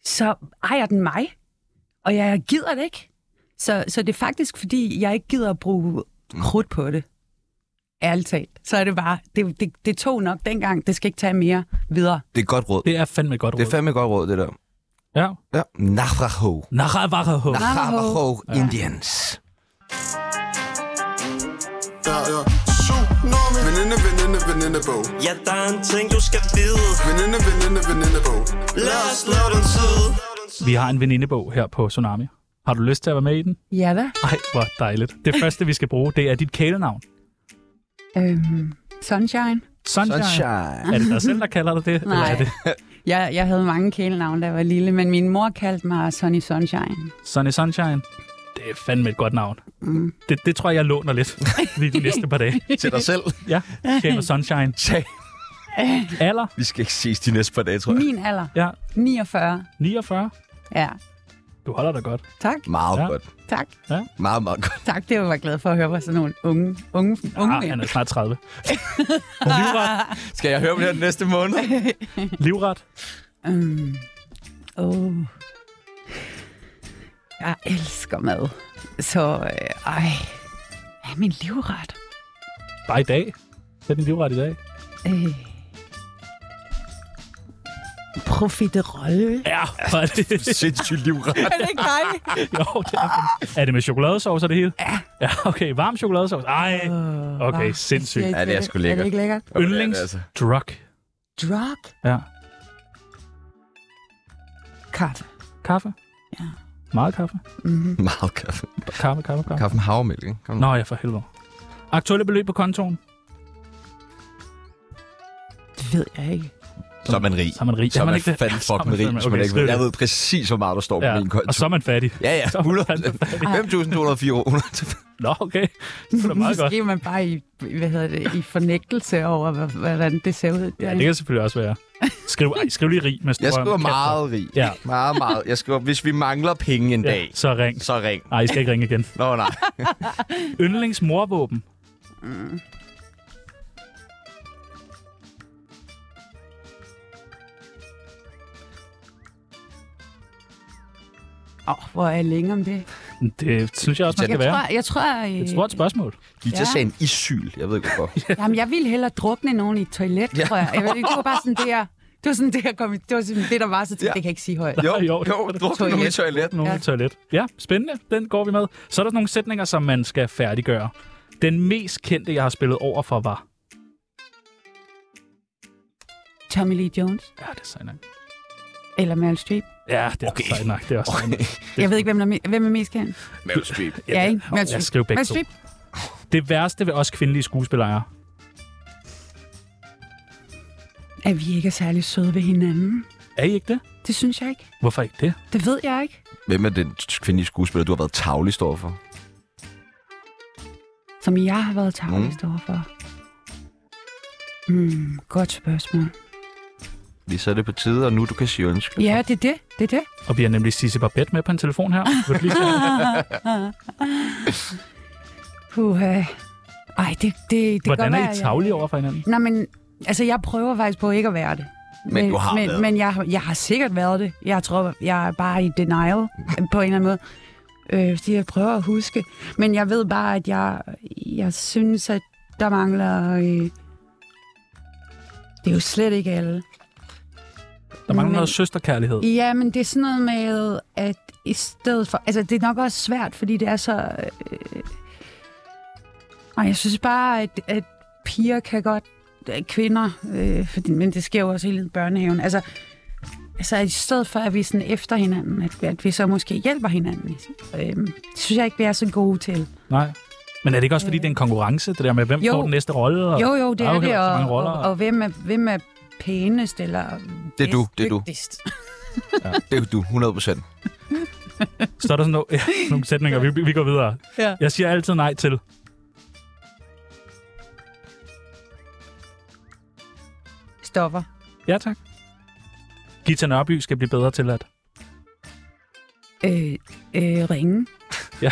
[SPEAKER 5] så ejer den mig, og jeg gider det ikke. Så, så det er faktisk, fordi jeg ikke gider at bruge krudt på det. Ærligt talt. Så er det bare, det, det, det tog nok dengang, det skal ikke tage mere videre.
[SPEAKER 2] Det er et godt råd.
[SPEAKER 4] Det er fandme et godt
[SPEAKER 2] Det
[SPEAKER 4] råd.
[SPEAKER 2] er fandme et godt råd, det der.
[SPEAKER 4] Ja.
[SPEAKER 2] Ja. Navajo.
[SPEAKER 4] Navajo.
[SPEAKER 2] Navajo Indians.
[SPEAKER 8] Der er tsunami. Veninde, veninde, veninde bog.
[SPEAKER 7] Ja, der er en ting, du skal vide.
[SPEAKER 8] Veninde, veninde, veninde bog.
[SPEAKER 7] Lad os slå den tid.
[SPEAKER 4] Vi har en venindebog her på Tsunami. Har du lyst til at være med i den?
[SPEAKER 5] Ja, hvad?
[SPEAKER 4] Ej, hvor dejligt. Det første, vi skal bruge, det er dit kælenavn.
[SPEAKER 5] Øhm, sunshine.
[SPEAKER 4] Sunshine.
[SPEAKER 2] Sunshine.
[SPEAKER 4] Er det dig selv, der kalder dig det? Eller er det
[SPEAKER 5] jeg, jeg havde mange kælenavne, da jeg var lille, men min mor kaldte mig Sunny Sunshine.
[SPEAKER 4] Sunny Sunshine? Det er fandme et godt navn. Mm. Det, det tror jeg, jeg låner lidt *laughs* lige de næste par dage.
[SPEAKER 2] Til dig selv.
[SPEAKER 4] Ja, Shamer
[SPEAKER 5] *laughs*
[SPEAKER 4] Sunshine.
[SPEAKER 2] Tag.
[SPEAKER 4] Alder?
[SPEAKER 2] Vi skal ikke ses de næste par dage, tror jeg.
[SPEAKER 5] Min alder,
[SPEAKER 4] Ja,
[SPEAKER 5] 49.
[SPEAKER 4] 49.
[SPEAKER 5] Ja,
[SPEAKER 4] Du holder dig godt.
[SPEAKER 5] tak,
[SPEAKER 2] Meget
[SPEAKER 4] Ja.
[SPEAKER 2] ja. godt.
[SPEAKER 5] tak,
[SPEAKER 2] Meget, meget godt.
[SPEAKER 5] tak. Det var jeg glad for at høre fra sådan nogle unge, unge, unge
[SPEAKER 4] Ah, han
[SPEAKER 5] mænd.
[SPEAKER 4] er snart 30. livret.
[SPEAKER 2] Skal jeg høre om det her den næste
[SPEAKER 5] *laughs*
[SPEAKER 2] måned?
[SPEAKER 4] livret.
[SPEAKER 5] Øhm, oh. Jeg elsker mad. Så, øh, ej, hvad er min livret?
[SPEAKER 4] Bare i dag. Hvad er din livret i dag?
[SPEAKER 5] Øh.
[SPEAKER 4] *laughs*
[SPEAKER 5] Profiterole.
[SPEAKER 4] Ja, hvor er det?
[SPEAKER 2] Sindssygt livret.
[SPEAKER 5] Er det ikke dejligt?
[SPEAKER 4] *laughs* jo, det er, fandme- er det med chokoladesauce, er det hele? Ja. Ja, okay. Varm chokoladesauce. Ej. Okay, sindssygt.
[SPEAKER 5] Øh, Ja,
[SPEAKER 2] Ja, det er sgu
[SPEAKER 5] Er altså-
[SPEAKER 2] lækkert.
[SPEAKER 5] det ikke lækkert?
[SPEAKER 4] Yndlingsdrug.
[SPEAKER 5] Drug.
[SPEAKER 4] Ja.
[SPEAKER 5] Kaffe.
[SPEAKER 4] Kaffe?
[SPEAKER 5] Ja.
[SPEAKER 4] Meget kaffe?
[SPEAKER 2] altså Meget kaffe.
[SPEAKER 4] Kaffe, kaffe, kaffe.
[SPEAKER 2] Kaffe med havremælk, ikke? Kom nu.
[SPEAKER 4] Nå ja, for helvede. Aktuelle beløb på kontoen?
[SPEAKER 5] Det ved jeg ikke.
[SPEAKER 2] Så er man rig.
[SPEAKER 4] Så er man rig.
[SPEAKER 2] Så
[SPEAKER 4] Er
[SPEAKER 2] er
[SPEAKER 4] man
[SPEAKER 2] man
[SPEAKER 4] ikke det? *laughs*
[SPEAKER 2] fandme
[SPEAKER 4] Så er man
[SPEAKER 2] fucking rig,
[SPEAKER 4] fandme-
[SPEAKER 2] hvis man
[SPEAKER 4] okay,
[SPEAKER 2] ikke
[SPEAKER 4] slut.
[SPEAKER 2] Jeg ved præcis, hvor meget der står på
[SPEAKER 4] Ja.
[SPEAKER 2] min
[SPEAKER 4] Og
[SPEAKER 2] konto.
[SPEAKER 4] så er man fattig.
[SPEAKER 2] Ja, ja.
[SPEAKER 4] *laughs* Så er man fandme
[SPEAKER 2] 100. *laughs*
[SPEAKER 4] fattig.
[SPEAKER 2] 5.204 kroner.
[SPEAKER 4] Nå, okay. Det er da meget godt.
[SPEAKER 5] Måske er man bare i, hvad hedder det, i fornægtelse over, hv- hvordan det ser ud.
[SPEAKER 4] Ja, det kan selvfølgelig også være. Skriv, ej, skriv lige rig med store
[SPEAKER 2] Jeg skriver
[SPEAKER 4] kapsler.
[SPEAKER 2] meget rig.
[SPEAKER 4] Ja.
[SPEAKER 2] Meget, meget. Jeg skriver, hvis vi mangler penge en dag,
[SPEAKER 4] Ja, så ring.
[SPEAKER 2] så ring.
[SPEAKER 4] Nej, I skal ikke ringe igen.
[SPEAKER 2] Nå, nej.
[SPEAKER 4] Yndlingsmorvåben.
[SPEAKER 5] Åh, hvor er jeg længe om det?
[SPEAKER 4] Det synes jeg også, man
[SPEAKER 5] Jeg
[SPEAKER 4] skal være.
[SPEAKER 5] tror, jeg, tror, øh,
[SPEAKER 4] Et stort spørgsmål.
[SPEAKER 2] Gita
[SPEAKER 5] Ja.
[SPEAKER 2] sagde en isyl. Jeg ved ikke,
[SPEAKER 4] *laughs*
[SPEAKER 2] hvorfor.
[SPEAKER 5] Jamen, jeg ville hellere drukne nogen i et toilet, ja. tror jeg. jeg ved, ikke, det var bare sådan det, jeg, det var sådan det, jeg kom i, det var sådan det, der var, så tænkte,
[SPEAKER 2] Ja.
[SPEAKER 5] ja. det kan jeg ikke sige højt.
[SPEAKER 2] Jo,
[SPEAKER 4] Jo,
[SPEAKER 2] jo,
[SPEAKER 4] det var
[SPEAKER 2] jo
[SPEAKER 4] det.
[SPEAKER 2] druk nu i
[SPEAKER 5] Toilet.
[SPEAKER 2] toilet.
[SPEAKER 4] Nogen ja.
[SPEAKER 5] Ja.
[SPEAKER 4] toilet. Ja, spændende. Den går vi med. Så er der nogle sætninger, som man skal færdiggøre. Den mest kendte, jeg har spillet over for, var...
[SPEAKER 5] Tommy Lee Jones
[SPEAKER 4] Ja, det er sejt nok.
[SPEAKER 5] eller Meryl Streep.
[SPEAKER 4] Ja, det er okay. sejt nok. Det er også okay.
[SPEAKER 5] Jeg ved ikke, hvem, der, er me- hvem er mest kendt.
[SPEAKER 2] Meryl Streep.
[SPEAKER 5] Ja, ikke? Meryl
[SPEAKER 4] Jeg
[SPEAKER 5] Streep.
[SPEAKER 4] skriver begge
[SPEAKER 5] Meryl
[SPEAKER 4] to.
[SPEAKER 5] Streep.
[SPEAKER 4] Det værste ved os kvindelige skuespillere.
[SPEAKER 5] At vi ikke er særlig søde ved hinanden.
[SPEAKER 4] Er I ikke det?
[SPEAKER 5] Det synes jeg ikke.
[SPEAKER 4] Hvorfor ikke det?
[SPEAKER 5] Det ved jeg ikke.
[SPEAKER 2] Hvem er den kvindelige skuespiller, du har været tavlig stor for?
[SPEAKER 5] Som jeg har været tavligst
[SPEAKER 4] Mm.
[SPEAKER 5] overfor. Hmm, godt spørgsmål.
[SPEAKER 2] Vi så er det på tide, og nu du kan sige undskyld.
[SPEAKER 5] Ja, det er det. Det er det.
[SPEAKER 4] Og vi har nemlig Sisse Barbette med på en telefon
[SPEAKER 5] *laughs*
[SPEAKER 4] her. Vil du lige tage-
[SPEAKER 5] Puha. Ej, det, det, det kan
[SPEAKER 4] Hvordan
[SPEAKER 5] godt
[SPEAKER 4] er
[SPEAKER 5] være,
[SPEAKER 4] I
[SPEAKER 5] jeg-
[SPEAKER 4] tavlige over for hinanden?
[SPEAKER 5] Nå, men altså, jeg prøver faktisk på ikke at være det.
[SPEAKER 2] Men du har
[SPEAKER 5] men,
[SPEAKER 2] været
[SPEAKER 5] Men jeg, jeg har sikkert været det. Jeg tror, jeg er bare i denial på en eller anden måde. Øh, fordi jeg prøver at huske. Men jeg ved bare, at jeg, jeg synes, at Der mangler... Øh, det er jo slet ikke alle.
[SPEAKER 4] Der mangler
[SPEAKER 5] Men-
[SPEAKER 4] noget søsterkærlighed.
[SPEAKER 5] Ja, men det er sådan noget med, at i stedet for... Altså, det er nok også svært, fordi det er så... Øh, og jeg synes bare, at, at piger kan godt... øh, Kvinder, øh, fordi, men det sker jo også hele tiden i børnehaven. Altså, altså, i stedet for, at vi sådan efter hinanden, at, at vi så måske hjælper hinanden. Øh, det synes jeg ikke, vi er så gode til.
[SPEAKER 4] Nej. Men er det ikke også, fordi det er en konkurrence, det der med, hvem
[SPEAKER 5] Øh. Jo.
[SPEAKER 4] får den næste rolle? Og...
[SPEAKER 5] Jo, jo, det
[SPEAKER 4] der er
[SPEAKER 5] er
[SPEAKER 4] jo
[SPEAKER 5] det,
[SPEAKER 4] heller ikke så
[SPEAKER 5] og,
[SPEAKER 4] mange
[SPEAKER 5] og,
[SPEAKER 4] roller.
[SPEAKER 5] og hvem, er, hvem er pænest, eller...
[SPEAKER 2] Det er du, det er du.
[SPEAKER 5] dygtigst?
[SPEAKER 2] Det er du, 100 procent.
[SPEAKER 4] Så er der sådan nogle, ja, *laughs* nogle sætninger, vi, vi går videre.
[SPEAKER 5] Ja.
[SPEAKER 4] Jeg siger altid nej til.
[SPEAKER 5] Stopper.
[SPEAKER 4] Ja, tak. Gita Nørby skal blive bedre til at...
[SPEAKER 5] øh, øh, ringe.
[SPEAKER 4] *laughs* Ja.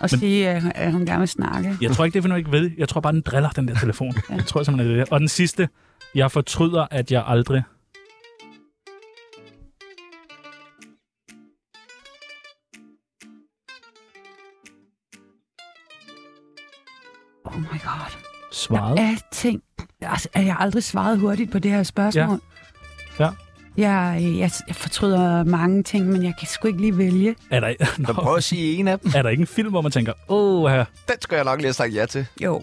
[SPEAKER 5] Og men... sige, at, at hun gerne vil snakke.
[SPEAKER 4] Jeg tror ikke, det finder jeg ikke ved. Jeg tror bare, den driller, den der telefon. ja. Jeg tror simpelthen, det er det. Og den sidste. Jeg fortryder, at jeg aldrig...
[SPEAKER 5] Oh my god.
[SPEAKER 4] Svarede.
[SPEAKER 5] Er ting... Altså, at jeg aldrig svaret hurtigt på det her spørgsmål.
[SPEAKER 4] Ja.
[SPEAKER 5] Jeg, øh, jeg, jeg fortryder mange ting, men jeg kan sgu ikke lige vælge.
[SPEAKER 4] Er der,
[SPEAKER 2] Så
[SPEAKER 4] Nå,
[SPEAKER 2] prøv at sige en af dem.
[SPEAKER 4] er der ikke en film, hvor man tænker, åh, her.
[SPEAKER 2] Den skal jeg nok lige have sagt ja til.
[SPEAKER 5] Jo.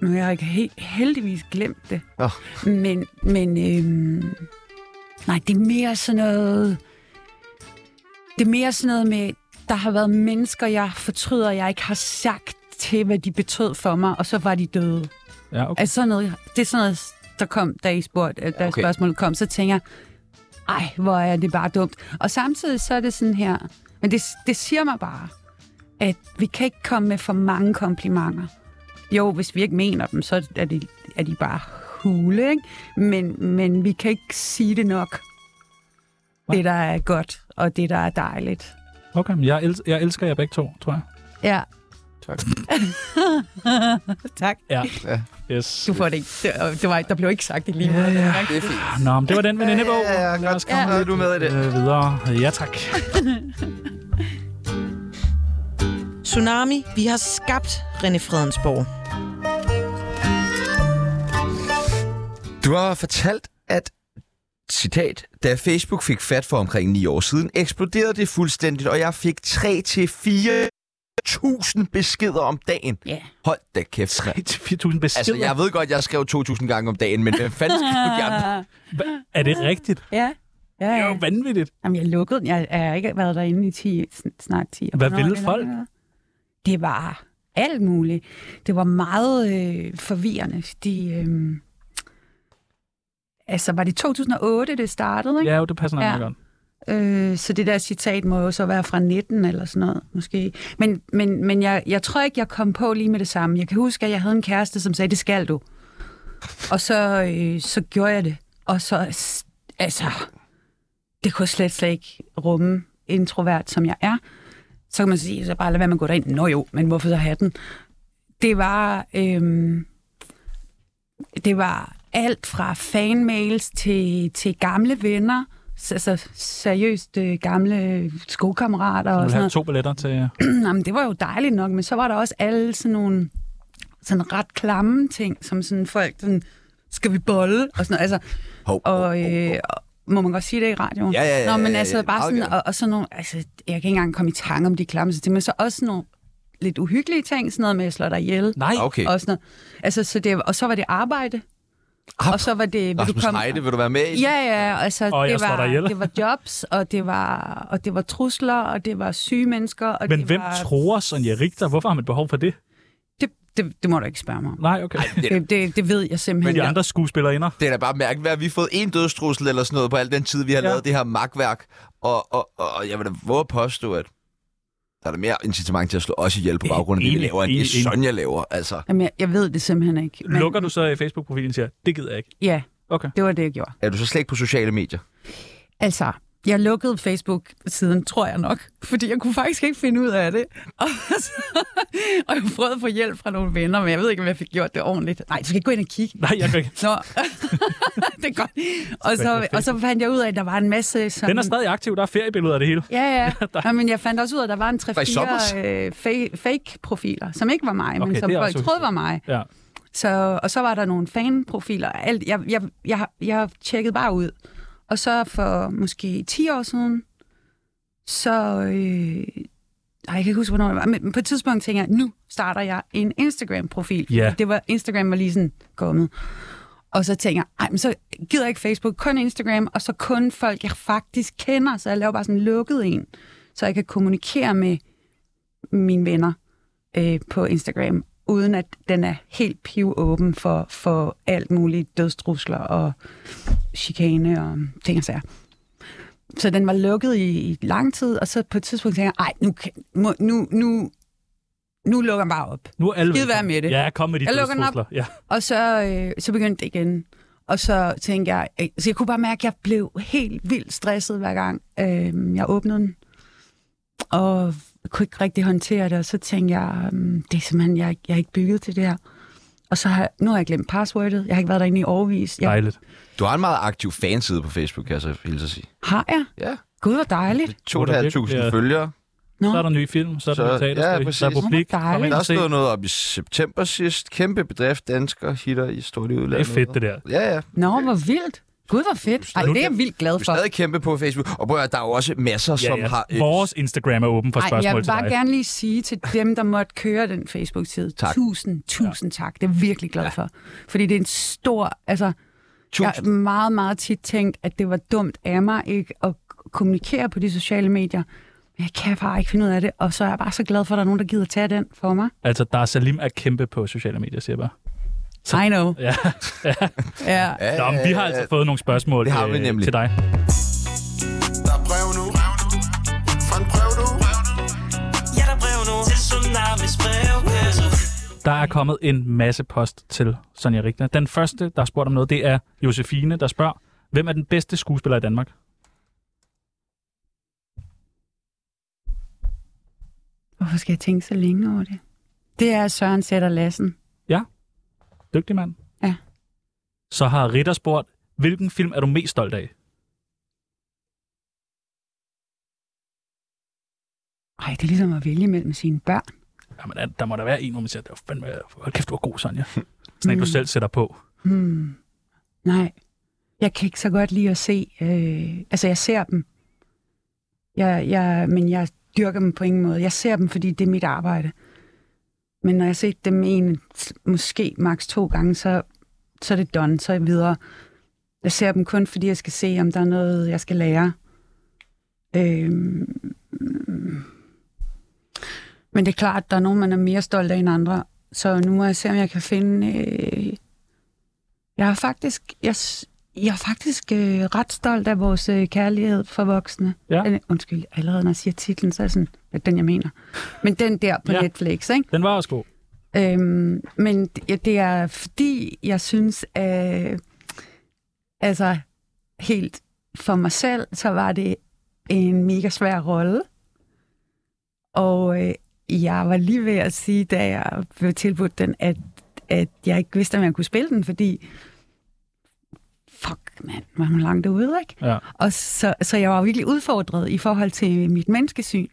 [SPEAKER 5] Nu har jeg ikke helt, heldigvis glemt det.
[SPEAKER 2] Nå.
[SPEAKER 5] Men, men øhm, nej, det er mere sådan noget... Det er mere sådan noget med, der har været mennesker, jeg fortryder, jeg ikke har sagt til, hvad de betød for mig, og så var de døde.
[SPEAKER 4] Ja, okay.
[SPEAKER 5] Altså sådan noget, det er sådan noget, der kom, da I spurgte, øh, da
[SPEAKER 2] Ja,
[SPEAKER 5] okay.
[SPEAKER 2] okay.
[SPEAKER 5] spørgsmålet kom, så tænker jeg, ej, hvor er det bare dumt. Og samtidig så er det sådan her, men det, det siger mig bare, at vi kan ikke komme med for mange komplimenter. Jo, hvis vi ikke mener dem, så er, det, er de bare hule, ikke? Men, men vi kan ikke sige det nok. Det, der er godt, og det, der er dejligt.
[SPEAKER 4] okay. men Jeg, el- jeg elsker jer begge to, tror jeg.
[SPEAKER 5] Ja,
[SPEAKER 2] Tak.
[SPEAKER 5] tak.
[SPEAKER 4] Yes.
[SPEAKER 5] Du får det ikke. Det, det var, der blev ikke sagt i lige måde. Ja, ja.
[SPEAKER 2] Det er fint.
[SPEAKER 4] Nå, men det var den venindebog.
[SPEAKER 2] Ja, ja, ja,
[SPEAKER 4] Lad os
[SPEAKER 2] godt.
[SPEAKER 4] komme
[SPEAKER 2] Ja.
[SPEAKER 4] lidt,
[SPEAKER 2] Du er med i det.
[SPEAKER 4] øh, videre. Ja, tak. *laughs*
[SPEAKER 10] Tsunami, vi har skabt René Fredensborg.
[SPEAKER 2] Du har fortalt, at citat, da Facebook fik fat for omkring 9 år siden, eksploderede det fuldstændigt, og jeg fik 3-4.000 beskeder om dagen.
[SPEAKER 5] Ja.
[SPEAKER 2] Hold da kæft. mand.
[SPEAKER 4] 3.000 beskeder.
[SPEAKER 2] Altså, jeg ved godt, jeg skrev 2.000 gange om dagen, men hvem fanden skrev de andre?
[SPEAKER 4] Hva- Er det rigtigt?
[SPEAKER 5] Ja. Ja,
[SPEAKER 4] Det er
[SPEAKER 5] ja.
[SPEAKER 4] jo vanvittigt.
[SPEAKER 5] Jamen, jeg lukkede den. Jeg, jeg har ikke været derinde i 10, sn- snart 10 år.
[SPEAKER 4] Hvad
[SPEAKER 5] Nå,
[SPEAKER 4] ville
[SPEAKER 5] eller-
[SPEAKER 4] folk?
[SPEAKER 5] Det var alt muligt. Det var meget øh, forvirrende, fordi... Øh, altså, var det 2008, det startede, ikke?
[SPEAKER 4] Ja, jo, det passer nok
[SPEAKER 5] Ja.
[SPEAKER 4] meget godt.
[SPEAKER 5] Øh, så det der citat må jo så være fra 19 eller sådan noget, måske. Men, men, men jeg, jeg tror ikke, jeg kom på lige med det samme. Jeg kan huske, at jeg havde en kæreste, som sagde, det skal du. Og så, øh, så gjorde jeg det. Og så, s- altså, det kunne jeg slet, slet ikke rumme introvert, som jeg er. Så kan man sige, så bare lad være med at gå derind. Nå jo, men hvorfor så have den? Det var, øhm, det var alt fra fanmails til, til gamle venner, s- altså seriøst øh, gamle skolekammerater
[SPEAKER 4] Du
[SPEAKER 5] og
[SPEAKER 4] vil
[SPEAKER 5] sådan
[SPEAKER 4] have
[SPEAKER 5] noget.
[SPEAKER 4] to billetter til...
[SPEAKER 5] *clears throat* Jamen, det var jo dejligt nok, men så var der også alle sådan nogle sådan ret klamme ting, som sådan folk sådan, skal vi bolle? Og sådan noget. Altså,
[SPEAKER 2] Hov, hov,
[SPEAKER 5] og,
[SPEAKER 2] hov,
[SPEAKER 5] øh,
[SPEAKER 2] hov.
[SPEAKER 5] og- må man godt sige det i radioen?
[SPEAKER 2] Ja, ja, ja,
[SPEAKER 5] Nå,
[SPEAKER 2] ja,
[SPEAKER 5] men
[SPEAKER 2] ja,
[SPEAKER 5] altså
[SPEAKER 2] ja,
[SPEAKER 5] bare
[SPEAKER 2] meget
[SPEAKER 5] sådan,
[SPEAKER 2] gerne.
[SPEAKER 5] og, og sådan nogle, altså, jeg kan ikke engang komme i tanke om de klamme ting, men så også sådan nogle lidt uhyggelige ting, sådan noget med, at jeg slår dig ihjel.
[SPEAKER 4] Nej,
[SPEAKER 2] Ah, Okay.
[SPEAKER 5] Og, sådan noget. Altså, så det, og så var det arbejde.
[SPEAKER 2] Ah,
[SPEAKER 5] og så var det, vil du
[SPEAKER 2] Rasmus
[SPEAKER 5] komme...
[SPEAKER 2] Heide, vil du være med i?
[SPEAKER 5] Ja, ja, altså,
[SPEAKER 4] Og jeg
[SPEAKER 5] det,
[SPEAKER 4] slår
[SPEAKER 5] var,
[SPEAKER 4] dig ihjel.
[SPEAKER 5] det var jobs, og det var, og det var trusler, og det var syge mennesker. Og
[SPEAKER 4] men
[SPEAKER 5] det
[SPEAKER 4] hvem
[SPEAKER 5] var...
[SPEAKER 4] tror Sonja Richter? Hvorfor har man behov for det?
[SPEAKER 5] Det, det, det må du ikke spørge mig om.
[SPEAKER 4] Nej, okay.
[SPEAKER 5] Det, det, det ved jeg simpelthen.
[SPEAKER 4] Men de
[SPEAKER 5] ikke.
[SPEAKER 4] andre skuespillerinder?
[SPEAKER 2] Det er da bare mærkeligt, at vi har fået en dødstrussel eller sådan noget på al den tid, vi har
[SPEAKER 4] Ja.
[SPEAKER 2] ja. lavet det her magtværk. Og, og, og jeg vil da våge at påstå, at der er der mere incitament til at slå os ihjel på baggrund af det, vi
[SPEAKER 4] Enig,
[SPEAKER 2] laver, end
[SPEAKER 4] enig,
[SPEAKER 2] det
[SPEAKER 4] enig.
[SPEAKER 2] Sonja laver. Altså,
[SPEAKER 5] Jamen, jeg, jeg ved det simpelthen ikke. Men,
[SPEAKER 4] Lukker du så i Facebook-profilen og siger, det gider jeg ikke?
[SPEAKER 5] Ja,
[SPEAKER 4] Okay.
[SPEAKER 5] det var det, jeg gjorde.
[SPEAKER 2] er du så slet ikke på sociale medier?
[SPEAKER 5] Altså, jeg lukkede Facebook-siden, tror jeg nok, fordi jeg kunne faktisk ikke finde ud af det. *laughs* Og, så, og jeg prøvede at få hjælp fra nogle venner, men jeg ved ikke, om jeg fik gjort det ordentligt. Nej, du skal ikke gå ind og kigge.
[SPEAKER 4] Nej, jeg kan
[SPEAKER 5] *laughs*
[SPEAKER 4] ikke.
[SPEAKER 5] Nå, det er godt. Og så, og så fandt jeg ud af, at der var en masse... Sådan,
[SPEAKER 4] Den er stadig aktiv, der er feriebilleder af det hele. *laughs*
[SPEAKER 5] Ja, ja. ja men jeg fandt også ud af, at der var en
[SPEAKER 2] Var I sommers?
[SPEAKER 5] 3-4 øh, fa- fake-profiler, som ikke var mig,
[SPEAKER 4] Okay,
[SPEAKER 5] men som
[SPEAKER 4] det er
[SPEAKER 5] folk
[SPEAKER 4] også
[SPEAKER 5] troede var mig.
[SPEAKER 4] Ja.
[SPEAKER 5] Så, og så var der nogle fanprofiler og alt. Jeg, jeg, jeg, jeg tjekkede bare ud. Og så for måske 10 år siden, så... Øh, ej, jeg kan ikke huske, hvornår det var, men på et tidspunkt tænker jeg, nu starter jeg en Instagram-profil.
[SPEAKER 4] Ja.
[SPEAKER 5] Det var, Instagram var lige sådan kommet. Og så tænker jeg, ej, men så gider jeg ikke Facebook, kun Instagram, og så kun folk, jeg faktisk kender, så jeg laver bare sådan en lukket en, så jeg kan kommunikere med mine venner øh, på Instagram, uden at den er helt pivåben for, for alt muligt dødstrusler og chikane og ting og sager. Så den var lukket i, i lang tid, og så på et tidspunkt tænker jeg, ej, nu, kan, må, nu, nu, nu lukker jeg bare op.
[SPEAKER 4] Nu er alle
[SPEAKER 5] Skide være
[SPEAKER 4] velkommen.
[SPEAKER 5] med det.
[SPEAKER 4] Ja, kom med de
[SPEAKER 5] Jeg lukker den op.
[SPEAKER 4] dødstrusler. Ja.
[SPEAKER 5] Og så, øh, så begyndte det igen. Og så tænkte jeg, øh, så jeg kunne bare mærke, at jeg blev helt vildt stresset hver gang øh, jeg åbnede den. Og kunne ikke rigtig håndtere det, og så tænkte jeg, øh, det er simpelthen, jeg, jeg er ikke bygget til det her. Og så har, jeg- nu har jeg glemt passwordet, jeg har ikke været derinde i overvis. Jeg,
[SPEAKER 4] Dejligt.
[SPEAKER 2] Du har en meget aktiv fanside på Facebook, kan jeg så hilse at sige.
[SPEAKER 5] har jeg?
[SPEAKER 2] Ja.
[SPEAKER 5] Gud, hvor dejligt.
[SPEAKER 2] 2.500
[SPEAKER 4] Ja.
[SPEAKER 2] følgere.
[SPEAKER 5] Nå,
[SPEAKER 4] Så er der ny film, så er
[SPEAKER 2] Så-
[SPEAKER 4] der så,
[SPEAKER 2] ja,
[SPEAKER 4] teaterstykke, ja,
[SPEAKER 2] præcis.
[SPEAKER 4] så er publik.
[SPEAKER 5] Hvor dejligt.
[SPEAKER 4] Kom ind
[SPEAKER 2] Der
[SPEAKER 4] og se.
[SPEAKER 2] stod noget op i september sidst. Kæmpe bedrift, danskere hitter i stort i
[SPEAKER 4] Det
[SPEAKER 2] udlandet.
[SPEAKER 4] er fedt, det der.
[SPEAKER 2] Ja, ja.
[SPEAKER 5] Nå, hvor vildt. Gud, hvor fedt. Ej, det er jeg vildt glad
[SPEAKER 2] Vi er
[SPEAKER 5] for.
[SPEAKER 2] stadig kæmpe på Facebook. Og prøv at høre, der er jo også masser,
[SPEAKER 4] Ja,
[SPEAKER 2] som
[SPEAKER 4] ja.
[SPEAKER 2] har... øh,
[SPEAKER 4] Vores Instagram er åben for
[SPEAKER 5] Ej, jeg
[SPEAKER 4] spørgsmål
[SPEAKER 5] vil
[SPEAKER 4] til
[SPEAKER 5] bare
[SPEAKER 4] dig.
[SPEAKER 5] gerne lige sige til dem, der måtte køre den Facebook-side,
[SPEAKER 2] Tak.
[SPEAKER 5] tusind, tusind ja. tak. Det er jeg virkelig glad ja. for. Fordi det er en stor... Altså, jeg har
[SPEAKER 2] Tusind.
[SPEAKER 5] meget, meget tit tænkt, at det var dumt af mig ikke at kommunikere på de sociale medier. Men jeg kan bare ikke finde ud af det, og så er jeg bare så glad for, at der er nogen, der gider tage den for mig.
[SPEAKER 4] Altså, der er Salim er kæmpe på sociale medier, siger jeg bare.
[SPEAKER 5] Så. I know.
[SPEAKER 4] Ja.
[SPEAKER 5] *laughs* Ja.
[SPEAKER 2] Ja,
[SPEAKER 4] Nå, men vi har
[SPEAKER 2] ja,
[SPEAKER 4] altså
[SPEAKER 2] ja.
[SPEAKER 4] fået nogle spørgsmål
[SPEAKER 2] Det har vi
[SPEAKER 4] øh,
[SPEAKER 2] nemlig.
[SPEAKER 4] til dig.
[SPEAKER 8] Der er brev nu. Fra en brev nu.
[SPEAKER 7] Ja, der er brev nu til Tsunamis brevkasse.
[SPEAKER 4] Der er kommet en masse post til Sonja Rigner. Den første, der har spurgt om noget, det er Josefine, der spørger, hvem er den bedste skuespiller i Danmark?
[SPEAKER 5] Hvorfor skal jeg tænke så længe over det? Det er Søren Sætter Lassen.
[SPEAKER 4] Dygtig mand.
[SPEAKER 5] Ja.
[SPEAKER 4] Så har Ritter spurgt, hvilken film er du mest stolt af?
[SPEAKER 5] Ej, det er ligesom at vælge mellem sine børn.
[SPEAKER 4] Jamen, der, der må der være en, hvor man siger, det var fandme, hold kæft, du var god, Sonja. Sådan en, du selv sætter på.
[SPEAKER 5] Hmm. Nej, jeg kan ikke så godt lide at se... Øh, altså, jeg ser dem, jeg, jeg, men jeg dyrker dem på ingen måde. Jeg ser dem, fordi det er mit arbejde. Men når jeg har set dem en, måske maks to gange, så, så er det done, så er jeg videre. Jeg ser dem kun, fordi jeg skal se, om der er noget, jeg skal lære. Øhm. Men det er klart, at der er nogen, man er mere stolt af end andre. Så nu må jeg se, om jeg kan finde... Øh, jeg er faktisk, jeg, s- jeg er faktisk øh, ret stolt af vores øh, kærlighed for voksne.
[SPEAKER 4] Ja.
[SPEAKER 5] Den, undskyld, allerede når jeg siger titlen, så er det sådan, at den jeg mener. Men den der på
[SPEAKER 4] Ja.
[SPEAKER 5] ja. Netflix, ikke?
[SPEAKER 4] Den var også god.
[SPEAKER 5] Øhm, men det, ja, det er fordi, jeg synes, øh, altså helt for mig selv, så var det en mega svær rolle. Og øh, jeg var lige ved at sige, da jeg blev tilbudt den, at, at jeg ikke vidste, om jeg kunne spille den, fordi fuck, mand, var man langt derude, ikke?
[SPEAKER 4] Ja.
[SPEAKER 5] Og så, så jeg var virkelig udfordret i forhold til mit menneskesyn.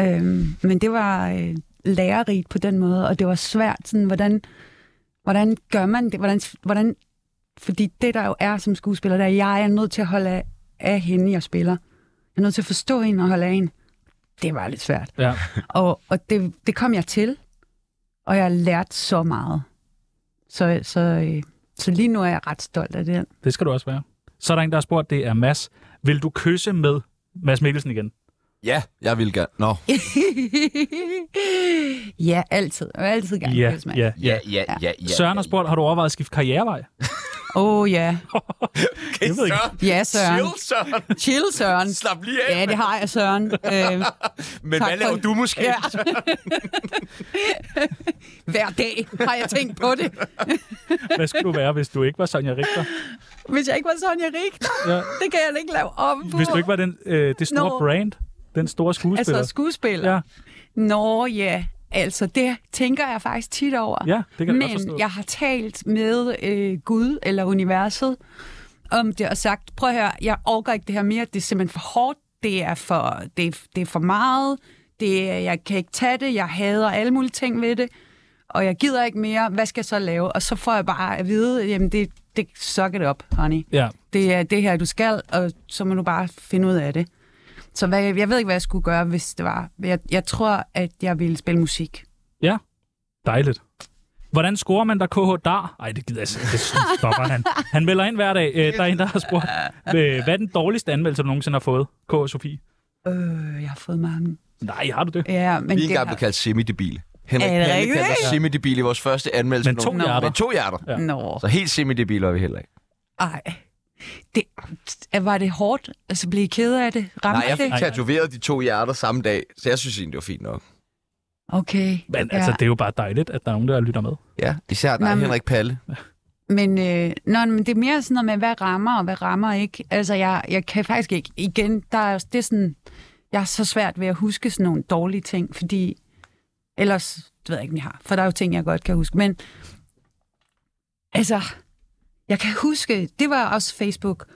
[SPEAKER 5] Øhm, men det var øh, lærerigt på den måde, og det var svært, sådan, hvordan, hvordan gør man det? Hvordan, hvordan, fordi det, der jo er som skuespiller, der er, jeg er nødt til at holde af, af hende, jeg spiller. Jeg er nødt til at forstå hende og holde af hende. Det var lidt svært.
[SPEAKER 4] Ja.
[SPEAKER 5] Og, og det, det kom jeg til, og jeg lærte så meget. Så, så, øh, så lige nu er jeg ret stolt
[SPEAKER 4] *laughs*
[SPEAKER 5] af den.
[SPEAKER 4] Det skal du også være. Så er der en, der har spurgt, det er Mads. Vil du kysse med Mads Mikkelsen igen?
[SPEAKER 2] Ja, jeg vil gerne. Nå.
[SPEAKER 5] ja, altid. Jeg vil altid gerne
[SPEAKER 4] ja,
[SPEAKER 5] kysse med.
[SPEAKER 4] ja,
[SPEAKER 2] Ja,
[SPEAKER 4] ja.
[SPEAKER 2] ja, ja, ja. ja
[SPEAKER 4] Søren har spurgt, har du overvejet at skifte karrierevej?
[SPEAKER 5] Åh oh, ja.
[SPEAKER 2] Okay,
[SPEAKER 4] jeg ved ikke.
[SPEAKER 2] Søren.
[SPEAKER 5] Ja, Søren.
[SPEAKER 2] Chill, Søren.
[SPEAKER 5] Chill, Søren.
[SPEAKER 2] Slap lige af.
[SPEAKER 5] Ja, det har jeg, Søren. Øh,
[SPEAKER 2] Men
[SPEAKER 5] tak
[SPEAKER 2] hvad
[SPEAKER 5] for
[SPEAKER 2] laver
[SPEAKER 5] det.
[SPEAKER 2] du måske?
[SPEAKER 5] ja. *laughs* Hver dag har jeg tænkt på det.
[SPEAKER 4] Hvad skulle du være, hvis du ikke var Sonja Richter?
[SPEAKER 5] Hvis jeg ikke var Sonja Richter,
[SPEAKER 4] Ja.
[SPEAKER 5] det kan jeg ikke lave om på.
[SPEAKER 4] Hvis du ikke var den, øh, det store
[SPEAKER 5] Nå.
[SPEAKER 4] brand, den store skuespiller.
[SPEAKER 5] Altså skuespiller.
[SPEAKER 4] Ja.
[SPEAKER 5] Nå ja, altså det tænker jeg faktisk tit over.
[SPEAKER 4] Ja, det kan jeg godt forstå.
[SPEAKER 5] Men jeg har talt med øh, Gud eller universet om det og sagt, prøv at høre, jeg overgår ikke det her mere, det er simpelthen for hårdt, det er for, det, er- det er for meget, det er, jeg kan ikke tage det, jeg hader alle mulige ting ved det. og jeg gider ikke mere, hvad skal jeg så lave? Og så får jeg bare at vide, jamen det, det suck it up, honey.
[SPEAKER 4] Ja.
[SPEAKER 5] Det er det her, du skal, og så må du bare finde ud af det. Så hvad, jeg ved ikke, hvad jeg skulle gøre, hvis det var. Jeg, jeg tror, at jeg ville spille musik.
[SPEAKER 4] Ja, dejligt. Hvordan scorer man der KH der? Ej, det gider jeg simpelthen. Det stopper han. Han melder ind hver dag. Øh, der er en, der har spurgt, øh, hvad er den dårligste anmeldelse, du nogensinde har fået? KH Sofie.
[SPEAKER 5] Øh, jeg har fået mange.
[SPEAKER 4] Nej, har du det?
[SPEAKER 5] Ja, men
[SPEAKER 2] Vi er
[SPEAKER 5] det
[SPEAKER 2] engang blevet kaldt semidebil. Henrik
[SPEAKER 5] Er det
[SPEAKER 2] Palle
[SPEAKER 5] rigtigt?
[SPEAKER 2] kaldte os semidebil i vores første anmeldelse.
[SPEAKER 4] Men to
[SPEAKER 2] Nå.
[SPEAKER 4] hjerter.
[SPEAKER 2] Men to hjerter.
[SPEAKER 4] Ja.
[SPEAKER 5] Nå,
[SPEAKER 2] Så helt semidebil var vi heller ikke.
[SPEAKER 5] ej. Det, var det hårdt? Altså, blev I ked af det? Ramte
[SPEAKER 2] Nej, jeg
[SPEAKER 5] det?
[SPEAKER 2] fik tatoveret de to hjerter samme dag, så jeg synes egentlig, det var fint nok.
[SPEAKER 5] Okay.
[SPEAKER 4] Men altså, det er jo bare dejligt, at der er nogen, der lytter med.
[SPEAKER 2] Ja, især dig,
[SPEAKER 5] Nej, men-
[SPEAKER 2] Henrik Palle.
[SPEAKER 5] Men, øh, nå, men det er mere sådan noget med, hvad rammer og hvad rammer ikke. Altså, jeg, jeg kan faktisk ikke. Igen, der er, det er sådan, jeg er så svært ved at huske sådan nogle dårlige ting, fordi ellers, det ved jeg ikke, om jeg har, for der er jo ting, jeg godt kan huske. Men altså, jeg kan huske, det var også Facebook,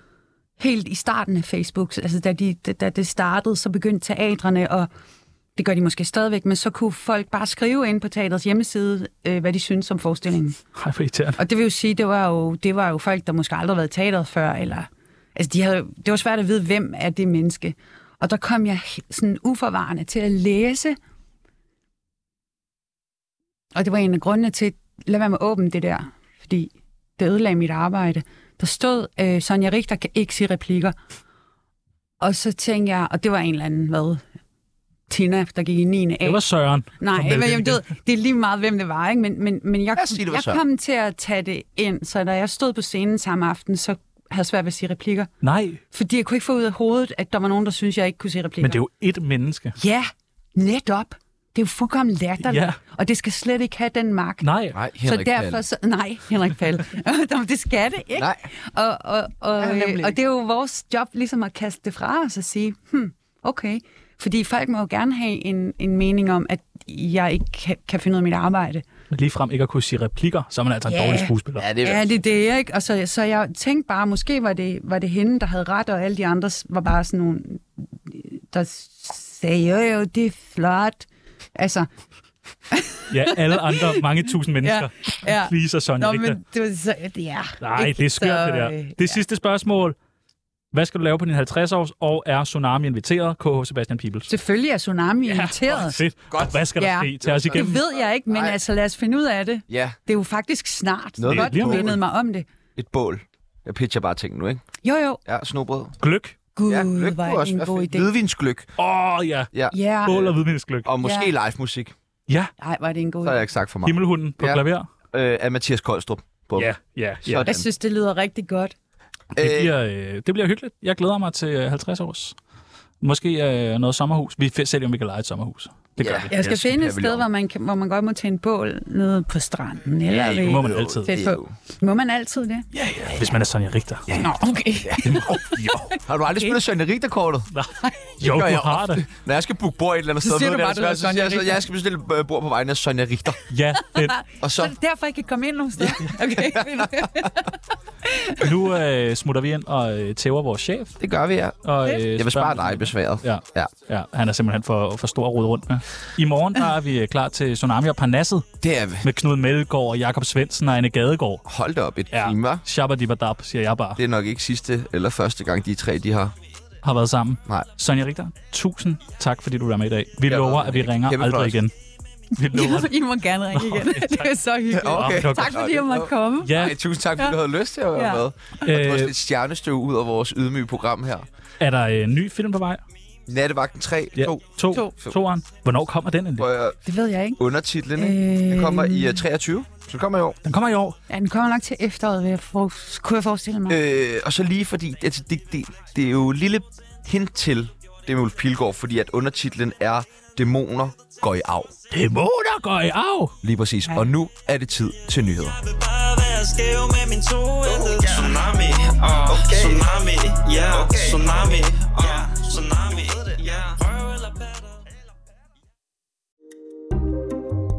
[SPEAKER 5] helt i starten af Facebook, altså da, de, da- da det startede, så begyndte teatrene og det gør de måske stadigvæk, men så kunne folk bare skrive ind på teatrets hjemmeside, øh, hvad de synes om forestillingen.
[SPEAKER 4] Ej, hvor irriterende.
[SPEAKER 5] Og det vil jo sige, det var jo, det var jo folk, der måske aldrig har været i teateret før, eller... Altså, de havde, det var svært at vide, hvem er det menneske. Og der kom jeg he- sådan uforvarende til at læse. Og det var en af grundene til, lad være med at åbne det der, fordi det ødelagde mit arbejde. Der stod, øh, Sonja Richter kan ikke sige replikker. Og så tænkte jeg, og det var en eller anden, hvad, Tina, der gik i 9. A.
[SPEAKER 4] Det var Søren.
[SPEAKER 5] Nej,
[SPEAKER 4] som
[SPEAKER 5] men
[SPEAKER 4] meldte
[SPEAKER 5] jamen,
[SPEAKER 4] ind
[SPEAKER 5] du ved,
[SPEAKER 4] igen.
[SPEAKER 5] det er lige meget, hvem det var, ikke? Men, men, men jeg,
[SPEAKER 2] Lad os sige, det var
[SPEAKER 5] jeg
[SPEAKER 2] Søren.
[SPEAKER 5] kom til at tage det ind, så da jeg stod på scenen samme aften, så havde jeg svært ved at sige replikker.
[SPEAKER 4] Nej,
[SPEAKER 5] Fordi jeg kunne ikke få ud af hovedet, at der var nogen, der syntes, jeg ikke kunne sige replikker.
[SPEAKER 4] men det er jo ét menneske.
[SPEAKER 5] Ja, netop. Det er jo fuldkommen latterligt.
[SPEAKER 4] Ja.
[SPEAKER 5] Ja. Og det skal slet ikke have den magt.
[SPEAKER 4] Nej,
[SPEAKER 2] Nej,
[SPEAKER 5] så
[SPEAKER 2] Henrik
[SPEAKER 5] derfor
[SPEAKER 2] Palle.
[SPEAKER 5] så, nej, Henrik Palle. *laughs* Nå, det skal det ikke.
[SPEAKER 2] Nej.
[SPEAKER 5] Og, og, og,
[SPEAKER 10] Ja, nemlig.
[SPEAKER 5] øh, og det er jo vores job ligesom at kaste det fra os og sige, hmm, okay. Fordi folk må jo gerne have en, en mening om, at jeg ikke kan, kan finde ud af mit arbejde.
[SPEAKER 4] men ligefrem ikke at kunne sige replikker, så er man altså en
[SPEAKER 5] Ja.
[SPEAKER 4] dårlig skuespiller.
[SPEAKER 2] Ja, det er
[SPEAKER 5] Ja, det er det, ikke? Og så, så jeg tænkte bare, måske var det, var det hende, der havde ret, og alle de andre s- var bare sådan nogle, der sagde, jo jo, det er flot. Altså,
[SPEAKER 4] Ja, alle andre mange tusind mennesker.
[SPEAKER 5] *laughs* Ja,
[SPEAKER 4] Ja.
[SPEAKER 5] ja.
[SPEAKER 4] Please og Sonja
[SPEAKER 5] nå,
[SPEAKER 4] Richter.
[SPEAKER 5] men det var så, ja.
[SPEAKER 4] Nej,
[SPEAKER 5] ikke?
[SPEAKER 4] det er skørt, det
[SPEAKER 5] Så,
[SPEAKER 4] der.
[SPEAKER 5] øh,
[SPEAKER 4] Det sidste spørgsmål. Hvad skal du lave på din 50-års, og er Tsunami inviteret? KH Sebastian Pibels.
[SPEAKER 5] Selvfølgelig er Tsunami ja,
[SPEAKER 4] *laughs*
[SPEAKER 5] irriteret.
[SPEAKER 4] Fedt. Og hvad skal der
[SPEAKER 5] Ja.
[SPEAKER 4] ske? Tag os igennem.
[SPEAKER 5] Det ved jeg ikke, men
[SPEAKER 2] Nej.
[SPEAKER 5] altså lad os finde ud af det.
[SPEAKER 2] Ja,
[SPEAKER 5] Det er jo faktisk snart.
[SPEAKER 2] Noget
[SPEAKER 5] Noget
[SPEAKER 4] med
[SPEAKER 5] godt,
[SPEAKER 4] lige
[SPEAKER 5] du
[SPEAKER 4] om
[SPEAKER 5] mindede mig om det.
[SPEAKER 2] et bål. Jeg pitcher bare ting nu, ikke?
[SPEAKER 5] Jo, jo.
[SPEAKER 2] Ja, snobrød.
[SPEAKER 4] Gløk.
[SPEAKER 5] Gud,
[SPEAKER 2] Ja,
[SPEAKER 5] ja,
[SPEAKER 2] gløk kunne
[SPEAKER 5] hvor er det
[SPEAKER 2] også
[SPEAKER 5] en
[SPEAKER 2] være
[SPEAKER 5] god
[SPEAKER 2] fedt.
[SPEAKER 5] idé.
[SPEAKER 2] Hvidvinsgløk.
[SPEAKER 4] Åh, oh, ja.
[SPEAKER 2] Ja.
[SPEAKER 5] Ja,
[SPEAKER 4] Bål og hvidvindsgløk.
[SPEAKER 2] Og måske
[SPEAKER 5] Ja.
[SPEAKER 2] live musik.
[SPEAKER 4] Ja,
[SPEAKER 5] nej, var det en god
[SPEAKER 2] Så har jeg
[SPEAKER 5] idé.
[SPEAKER 2] ikke sagt for meget.
[SPEAKER 4] himmelhunden på
[SPEAKER 2] Ja.
[SPEAKER 4] klaver.
[SPEAKER 2] Øh, af Mathias Koldstrup. Bum.
[SPEAKER 4] Ja, ja, ja.
[SPEAKER 2] Sådan.
[SPEAKER 5] Jeg synes, det lyder rigtig godt.
[SPEAKER 4] Det
[SPEAKER 2] Øh,
[SPEAKER 4] bliver, øh, det bliver hyggeligt. Jeg glæder mig til øh, 50 års. Måske øh, noget sommerhus. Vi f- sælger, om vi kan lege et sommerhus. Det gør
[SPEAKER 2] Ja.
[SPEAKER 4] vi.
[SPEAKER 5] Jeg skal
[SPEAKER 2] Jeg synes,
[SPEAKER 5] finde et
[SPEAKER 2] jeg vil
[SPEAKER 5] sted,
[SPEAKER 2] om.
[SPEAKER 5] hvor man, kan, hvor man godt må tænde bål nede på stranden. Eller
[SPEAKER 2] Ja,
[SPEAKER 5] ja,
[SPEAKER 4] Det må
[SPEAKER 5] ved,
[SPEAKER 4] man altid.
[SPEAKER 5] tæt på. Må man altid det?
[SPEAKER 4] Ja, ja. Hvis man er Sonja Richter. Ja.
[SPEAKER 5] Nå, okay.
[SPEAKER 2] *laughs*
[SPEAKER 4] *laughs* Jo,
[SPEAKER 2] Har du aldrig spillet Søren Richter-kortet?
[SPEAKER 4] jo
[SPEAKER 2] gør
[SPEAKER 4] du
[SPEAKER 2] jeg
[SPEAKER 4] har det.
[SPEAKER 2] Når jeg skal booke bord et eller andet
[SPEAKER 5] Så
[SPEAKER 2] sted,
[SPEAKER 5] siger
[SPEAKER 2] ved
[SPEAKER 5] du
[SPEAKER 2] jeg
[SPEAKER 5] bare,
[SPEAKER 2] desværre,
[SPEAKER 5] du
[SPEAKER 2] så
[SPEAKER 5] hedder
[SPEAKER 2] siger jeg, så
[SPEAKER 5] Sonja
[SPEAKER 2] jeg skal bestille øh, bord på vegne af Sonja Richter.
[SPEAKER 4] Ja, fedt.
[SPEAKER 2] Og
[SPEAKER 5] Så
[SPEAKER 2] så
[SPEAKER 5] er det derfor, jeg ikke kan komme ind nogen steder. Okay.
[SPEAKER 4] Nu øh, smutter vi ind og øh, tæver vores chef.
[SPEAKER 2] Det gør vi, ja.
[SPEAKER 4] Og, øh,
[SPEAKER 2] Jeg vil
[SPEAKER 4] spørger-
[SPEAKER 2] spare dig besværet.
[SPEAKER 4] Ja.
[SPEAKER 2] Ja.
[SPEAKER 4] ja, han er simpelthen for, for stor at rode rundt med. I morgen der er vi øh, klar til Tsunami og Parnasset
[SPEAKER 2] Det er vi.
[SPEAKER 4] med Knud Mellegaard og Jakob Svendsen og Anne Gadegaard.
[SPEAKER 2] Hold da op et ja. time, hva'?
[SPEAKER 4] Shabadibadab, siger jeg bare,
[SPEAKER 2] Det er nok ikke sidste eller første gang, de tre de har.
[SPEAKER 4] har været sammen.
[SPEAKER 2] Nej.
[SPEAKER 4] Sonja Richter, tusind tak, fordi du var med i dag. Vi
[SPEAKER 2] var
[SPEAKER 4] lover,
[SPEAKER 2] med.
[SPEAKER 4] at vi ringer
[SPEAKER 2] Kæmpe
[SPEAKER 4] aldrig
[SPEAKER 2] fornøjelse.
[SPEAKER 4] igen. Vi *laughs*
[SPEAKER 2] *laughs*
[SPEAKER 4] lover det.
[SPEAKER 5] I må gerne ringe igen. Det er så hyggeligt.
[SPEAKER 4] Okay.
[SPEAKER 5] Tak fordi jeg måtte komme.
[SPEAKER 4] Ja,
[SPEAKER 2] Ej, tusind tak, fordi
[SPEAKER 5] Ja.
[SPEAKER 2] du havde lyst til at være
[SPEAKER 5] Ja.
[SPEAKER 2] med. Og du har
[SPEAKER 4] Øh.
[SPEAKER 2] lidt stjernestøv ud af vores ydmyge program her.
[SPEAKER 4] er der øh, en ny film på vej?
[SPEAKER 2] Nattevagten 3,
[SPEAKER 4] Ja.
[SPEAKER 2] 2.
[SPEAKER 4] To.
[SPEAKER 2] To.
[SPEAKER 4] Toeren. Hvornår kommer den endelig?
[SPEAKER 2] Hvor jeg
[SPEAKER 5] Det ved jeg ikke.
[SPEAKER 2] undertitlen, ikke? Den kommer i øh, 23, så den kommer i år.
[SPEAKER 4] Den kommer i år.
[SPEAKER 5] Ja, den kommer nok til efteråret, vil jeg for, kunne jeg forestille mig.
[SPEAKER 2] Øh, og så lige fordi, altså, det, det, det er jo et lille hint til det med Ulf Pilgaard, fordi at undertitlen er Dæmoner går i arv.
[SPEAKER 4] Dæmoner går i arv!
[SPEAKER 2] Lige præcis.
[SPEAKER 5] Ja.
[SPEAKER 2] Og nu er det tid til nyheder.
[SPEAKER 7] Jeg vil bare være skæv med min tohændede Tsunami, ah, tsunami, ja, tsunami, ah, tsunami, ja Røv eller patter